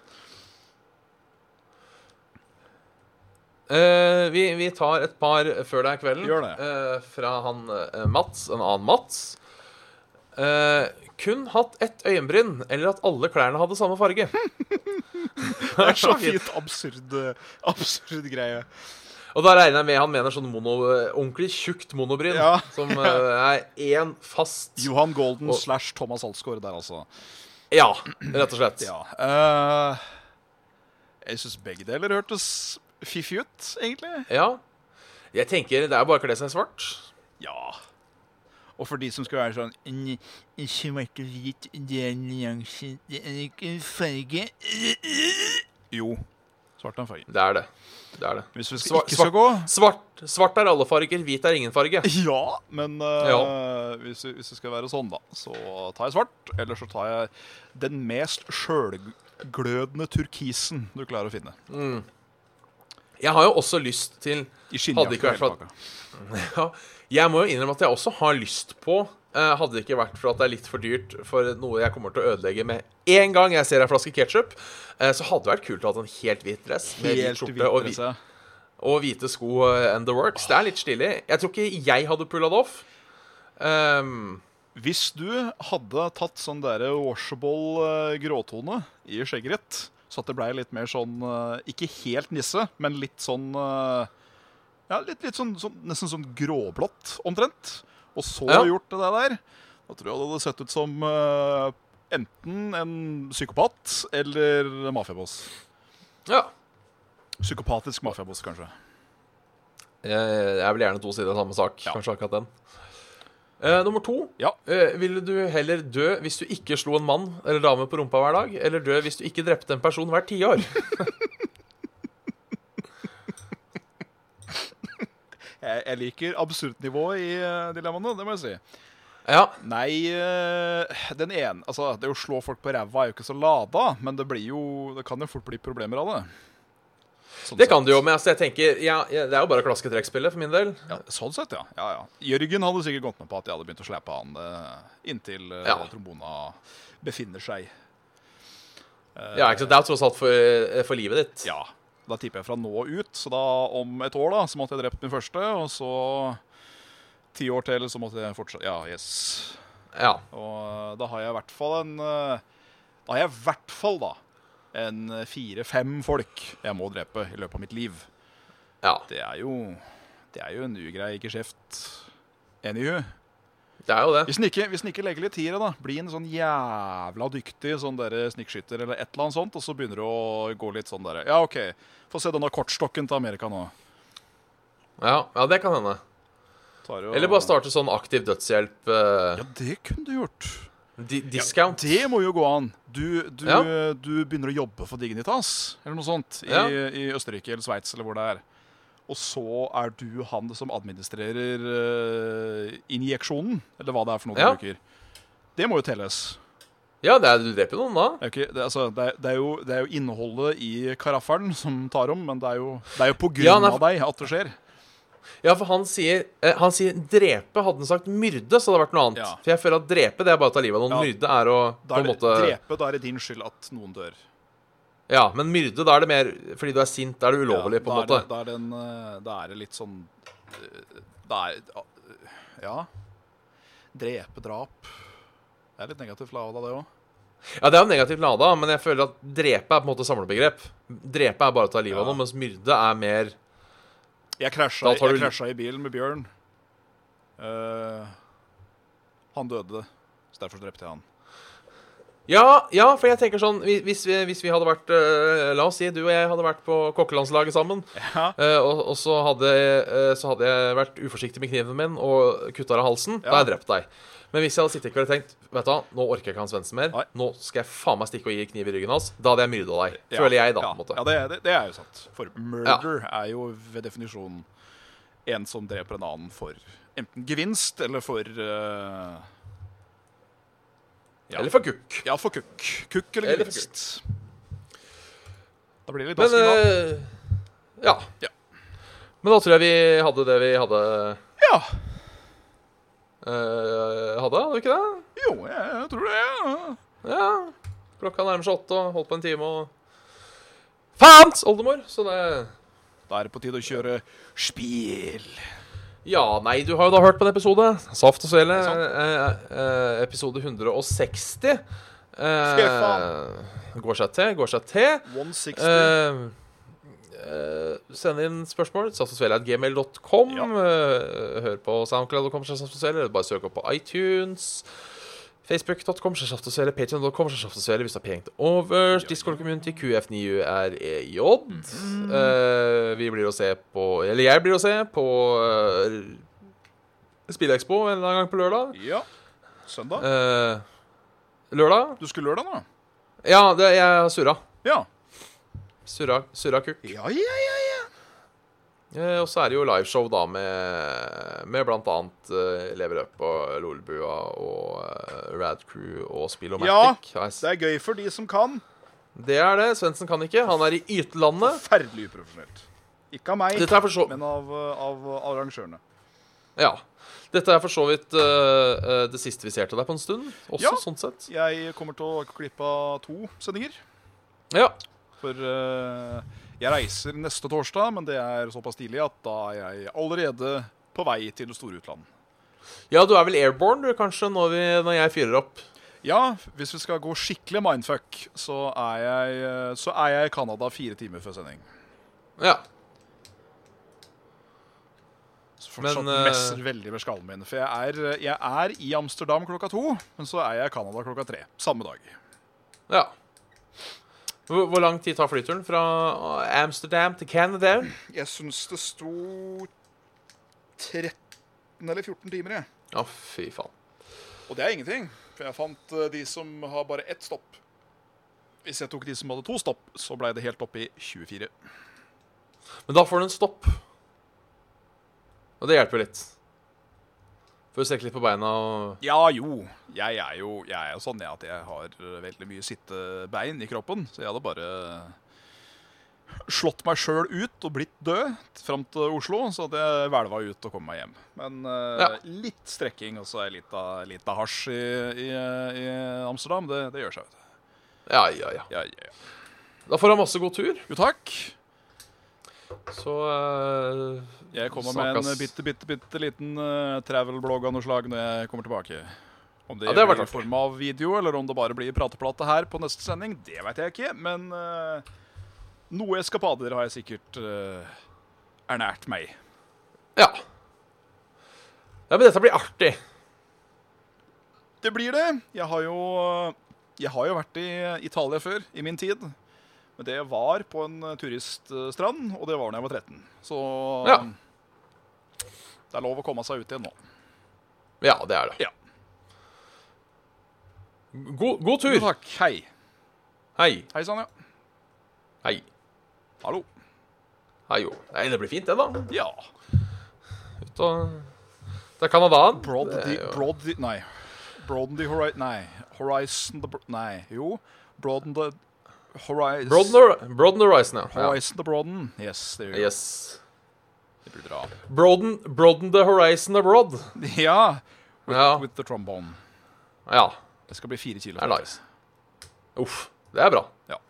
S2: Eh, vi, vi tar et par før det er kvelden.
S3: Gjør det.
S2: Eh, fra han eh, Mats, en annen Mats. Eh, kun hatt ett øyenbryn, eller at alle klærne hadde samme farge.
S3: Det er så fint absurd, eh, absurd greie.
S2: Og da regner jeg med han mener sånn mono, ordentlig tjukt monobryn.
S3: Ja.
S2: Som eh, er én fast
S3: Johan Golden
S2: Og-
S3: slash Thomas Alsgaard der, altså.
S2: Ja, rett og slett.
S3: Ja. eh, jeg syns begge deler hørtes fiffig ut, egentlig.
S2: Ja. Jeg tenker det er bare å kle seg i svart.
S3: Ja. Og for de som skulle være sånn «N- Svart og hvit, det er nyanser, det er ikke en farge. Jo. Svart er en farge.
S2: Det er det. Det er det.
S3: Hvis vi skal,
S2: Svar-
S3: ikke skal gå
S2: Svart, svart er alle farger, hvit er ingen farge.
S3: Ja, men eh, Hvis, vi, hvis vi skal være sånn, da, så tar jeg svart. Eller så tar jeg den mest sjølglødende turkisen du klarer å finne.
S2: Jeg har jo også lyst til
S3: I skinnjakke.
S2: Hadde ikke vært
S3: og hele
S2: for
S3: pakka.
S2: ja, Jeg må jo innrømme at jeg også har lyst på eh, Hadde det ikke vært for at det er litt for dyrt for noe jeg kommer til å ødelegge med en gang jeg ser en flaske ketsjup, så hadde det vært kult å ha en helt hvit dress med hvit
S3: Helt
S2: skjorte og,
S3: hvit
S2: hvi-
S3: dresse.
S2: og hvite sko eh, and the works. Det er litt stilig. Jeg tror ikke jeg hadde pulla det off. Ehm,
S3: Hvis du hadde tatt sånn der washable eh, gråtone i skjegget ditt, så at det blei litt mer sånn eh, Ikke helt nisse, men litt sånn eh, Ja, litt, litt sånn, sånn nesten sånn gråblått, omtrent. Og så
S2: Ja.
S3: gjort det der, da tror jeg det hadde sett ut som eh, enten en psykopat eller mafiaboss.
S2: ja.
S3: Psykopatisk mafiaboss, kanskje.
S2: Eh, Det er vel gjerne to sider av samme sak.
S3: Ja.
S2: Kanskje akkurat den. Eh, nummer to.
S3: Ja.
S2: Eh, ville du heller dø hvis du ikke slo en mann eller dame på rumpa hver dag, eller dø hvis du ikke drepte en person hvert tiår?
S3: Jeg, jeg liker absurdnivået i eh, dilemmaene, det må jeg si.
S2: ja.
S3: Nei, eh, den ene Altså, det å slå folk på ræva er jo ikke så lada, men det blir jo Det kan jo fort bli problemer av det. Sånn
S2: Det
S3: sett.
S2: kan du jo, men altså, jeg tenker ja, ja, Det er jo bare klasketrekkspillet for min del.
S3: Ja, sånn sett, ja. ja, ja. Jørgen hadde sikkert gått med på at jeg hadde begynt å slepe han eh, inntil eh,
S2: Ja.
S3: trombona befinner seg.
S2: Ja, ikke sant? Det er tross alt for, eh, for livet ditt.
S3: Ja. Da tipper jeg fra nå ut, så da om et år da, så måtte jeg drept min første, og så ti år til, så måtte jeg fortsette. Ja, yes.
S2: Ja.
S3: Og eh, da har jeg i hvert fall en eh, Da har jeg i hvert fall da en eh, fire-fem folk jeg må drepe i løpet av mitt liv.
S2: ja.
S3: Det er jo Det er jo en ugrei geskjeft. Anywho.
S2: Det er jo det.
S3: Hvis den ikke, hvis den ikke legger litt tiere, da, bli en sånn jævla dyktig sånn der snikskytter eller et eller annet sånt, og så begynner du å gå litt sånn derre Ja, OK, få se denne kortstokken til Amerika nå.
S2: Ja, ja det kan hende.
S3: Tar jo-
S2: Eller bare starte sånn aktiv dødshjelp. eh,
S3: Ja, det kunne du gjort.
S2: di discount.
S3: Det må jo gå an. Du, du,
S2: Ja.
S3: du begynner å jobbe for Dignitas eller noe sånt i,
S2: Ja.
S3: i Østerrike eller Sveits eller hvor det er. Og så er du han som administrerer eh, injeksjonen, eller hva det er for noe
S2: Ja.
S3: du bruker. Det må jo telles.
S2: Ja, det er, du dreper jo noen da.
S3: Det er, jo ikke, det, altså, det, er, det, er jo, det er jo innholdet i karaffelen som tar om, men det er jo, det er jo på grunn
S2: Ja, nei,
S3: av deg at det skjer.
S2: Ja, for han sier, eh, han sier 'drepe'. Hadde han sagt 'myrde', så hadde det vært noe annet.
S3: Ja.
S2: For jeg føler at 'drepe' det er bare å ta livet av
S3: Ja.
S2: noen. Myrde er å
S3: Da er
S2: på en
S3: det
S2: måte
S3: drepe, da er det din skyld at noen dør.
S2: Ja, men myrde, da er det mer fordi du er sint. Da er det ulovlig,
S3: Ja,
S2: på
S3: da
S2: en
S3: er
S2: måte.
S3: det- Da er, det en, eh, da er det litt sånn eh, Da er Ja. Drepe, drap. Det er litt negativt lada, det òg.
S2: Ja, det er jo negativt lada, men jeg føler at drepe er på en måte samlebegrep. Drepe er bare å ta livet av
S3: Ja.
S2: noen, mens myrde er mer
S3: Jeg
S2: Da
S3: krasja,
S2: tar
S3: jeg
S2: du-
S3: krasja i bilen med Bjørn. Eh, han døde, så derfor drepte jeg han.
S2: Ja, ja, for jeg tenker sånn hvi- Hvis vi, hvis vi hadde vært eh, La oss si du og jeg hadde vært på kokkelandslaget sammen,
S3: Ja.
S2: eh, og, og så, hadde, eh, så hadde jeg vært uforsiktig med kniven min og kutta av halsen. Da
S3: Ja.
S2: hadde jeg drept deg. Men hvis jeg hadde sittet i kveld og tenkt Vet du hva, nå orker jeg ikke han Svendsen mer.
S3: Nei.
S2: Nå skal jeg faen meg stikke og gi kniv i ryggen hans. Da hadde jeg myrda deg.
S3: Ja,
S2: Føler jeg, da.
S3: Ja,
S2: på en måte
S3: ja det, det, det er jo sant. For murder er jo ved definisjon en som dreper en annen for enten gevinst eller for eh, ja.
S2: Eller for kukk.
S3: Ja, for kukk. Kukk eller
S2: Eller for
S3: gevinst. Da blir det litt
S2: Men
S3: dasking, da.
S2: eh, ja.
S3: Ja.
S2: Men da tror jeg vi hadde det vi hadde
S3: Ja.
S2: eh, Hadde, hadde vi ikke det?
S3: Jo, jeg, jeg tror det. Ja.
S2: Ja. Klokka nærmer seg åtte, og holdt på en time og Faens oldemor! Så det
S3: Da er det på tide å kjøre spill.
S2: Ja, nei, du har jo da hørt på en episode. Saft og svele.
S3: Det er
S2: Eh, eh, episode 160.
S3: Fy
S2: Eh,
S3: faen.
S2: går seg til, går seg til.
S3: 160.
S2: Eh, eh, send inn spørsmål. Saftosvele.gmail.com.
S3: Ja.
S2: Eh, hør på SoundCloud.com, eller bare søk opp på iTunes. Facebook.com, saftosvele. Patreon.com, saftosvele hvis du har penger til overs. Discord community, QF9UREJ. E Eh, vi blir å se på Eller jeg blir å se på uh, Spillekspo en eller annen gang på lørdag.
S3: Ja. Søndag.
S2: Eh, lørdag?
S3: Du skulle lørdag nå?
S2: Ja, det, jeg har surra.
S3: Ja.
S2: Surra, surra kukk.
S3: Ja, ja, ja. ja.
S2: Eh, Og så er det jo liveshow da med, med blant annet eh, Leverøp og Lolbua og eh, Rad Crew og Spillomatic. Ja,
S3: Det er gøy for de som kan.
S2: det er det. Svendsen kan ikke. Han er i ytelandet.
S3: Forferdelig uprofesjonelt. Ikke av meg,
S2: Dette er for så,
S3: men av, eh, av arrangørene.
S2: ja. Dette er for så vidt eh, eh, det siste vi ser til deg på en stund. Også
S3: Ja.
S2: sånn sett.
S3: Jeg kommer til å klippe av to sendinger.
S2: Ja.
S3: For eh, jeg reiser neste torsdag, men det er såpass tidlig at da er jeg allerede på vei til det store utland.
S2: ja, du er vel airborne du, kanskje, når, vi, når jeg fyrer opp.
S3: Ja, hvis vi skal gå skikkelig mindfuck, så er jeg, eh, så er jeg i Canada fire timer før sending.
S2: Ja.
S3: Så fortsatt
S2: Men, eh,
S3: messer veldig med skallen min. For jeg er, eh, jeg er i Amsterdam klokka to, men så er jeg i Canada klokka tre. Samme dag.
S2: ja. Hvor, hvor lang tid tar flyturen fra Amsterdam til Canada?
S3: Jeg syns det sto 13 eller 14 timer, jeg.
S2: Ja, fy faen.
S3: Og det er ingenting, for jeg fant eh, de som har bare ett stopp. Hvis jeg tok de som hadde to stopp, så blei det helt oppe i 24.
S2: Men da får du en stopp. Og det hjelper litt. For å strekke litt på beina og
S3: Ja jo, jeg er jo, jeg er jo sånn jeg, at jeg har eh, veldig mye sittebein i kroppen, så jeg hadde bare slått meg sjøl ut og blitt død fram til Oslo, så hadde jeg hvelva ut og kommet meg hjem. Men eh,
S2: Ja.
S3: litt strekking og så ei lita lita hasj i, i, i Amsterdam, det, det gjør seg, vet du.
S2: Ja, ja, ja.
S3: Ja, ja, ja.
S2: Da får han masse god tur.
S3: Jo, takk.
S2: Så eh,
S3: Jeg kommer med en
S2: Snakkes.
S3: bitte, bitte, bitte liten eh, travel-blogg av noe slag når jeg kommer tilbake. Om det,
S2: Ja, det har vært
S3: blir i
S2: artig.
S3: form av video, eller om det bare blir prateplate her på neste sending, det vet jeg ikke. Men eh, noe eskapader har jeg sikkert eh, ernært meg.
S2: ja. Ja, men dette blir artig.
S3: Det blir det. Jeg har jo, jeg har jo vært i Italia før, i min tid. Men det var på en turiststrand, og det var da jeg var 13. Så
S2: Ja.
S3: det er lov å komme seg ut igjen nå.
S2: Ja, det er det.
S3: Ja.
S2: God, god tur.
S3: Takk. Hei.
S2: Hei.
S3: Hei sann, ja.
S2: Hei.
S3: Hallo.
S2: Hei, jo. Nei, det blir fint, det, da.
S3: Ja.
S2: Ut og Det er Canadaen.
S3: Broad
S2: Det er
S3: the,
S2: jo-
S3: broad the, nei. Broaden the horizon Nei. Horizon the bro- Nei, jo. Broaden the horizon
S2: Broaden the- Broaden the horizon, ja. ja.
S3: Horizon the broaden. Yes, det gjør vi.
S2: Yes.
S3: Det burde dra.
S2: Broaden, broaden the horizon abroad.
S3: Ja.
S2: Ja.
S3: With the trombone.
S2: ja.
S3: Det skal bli fire kilo.
S2: Det er nice. Uff. Det er bra.
S3: Ja.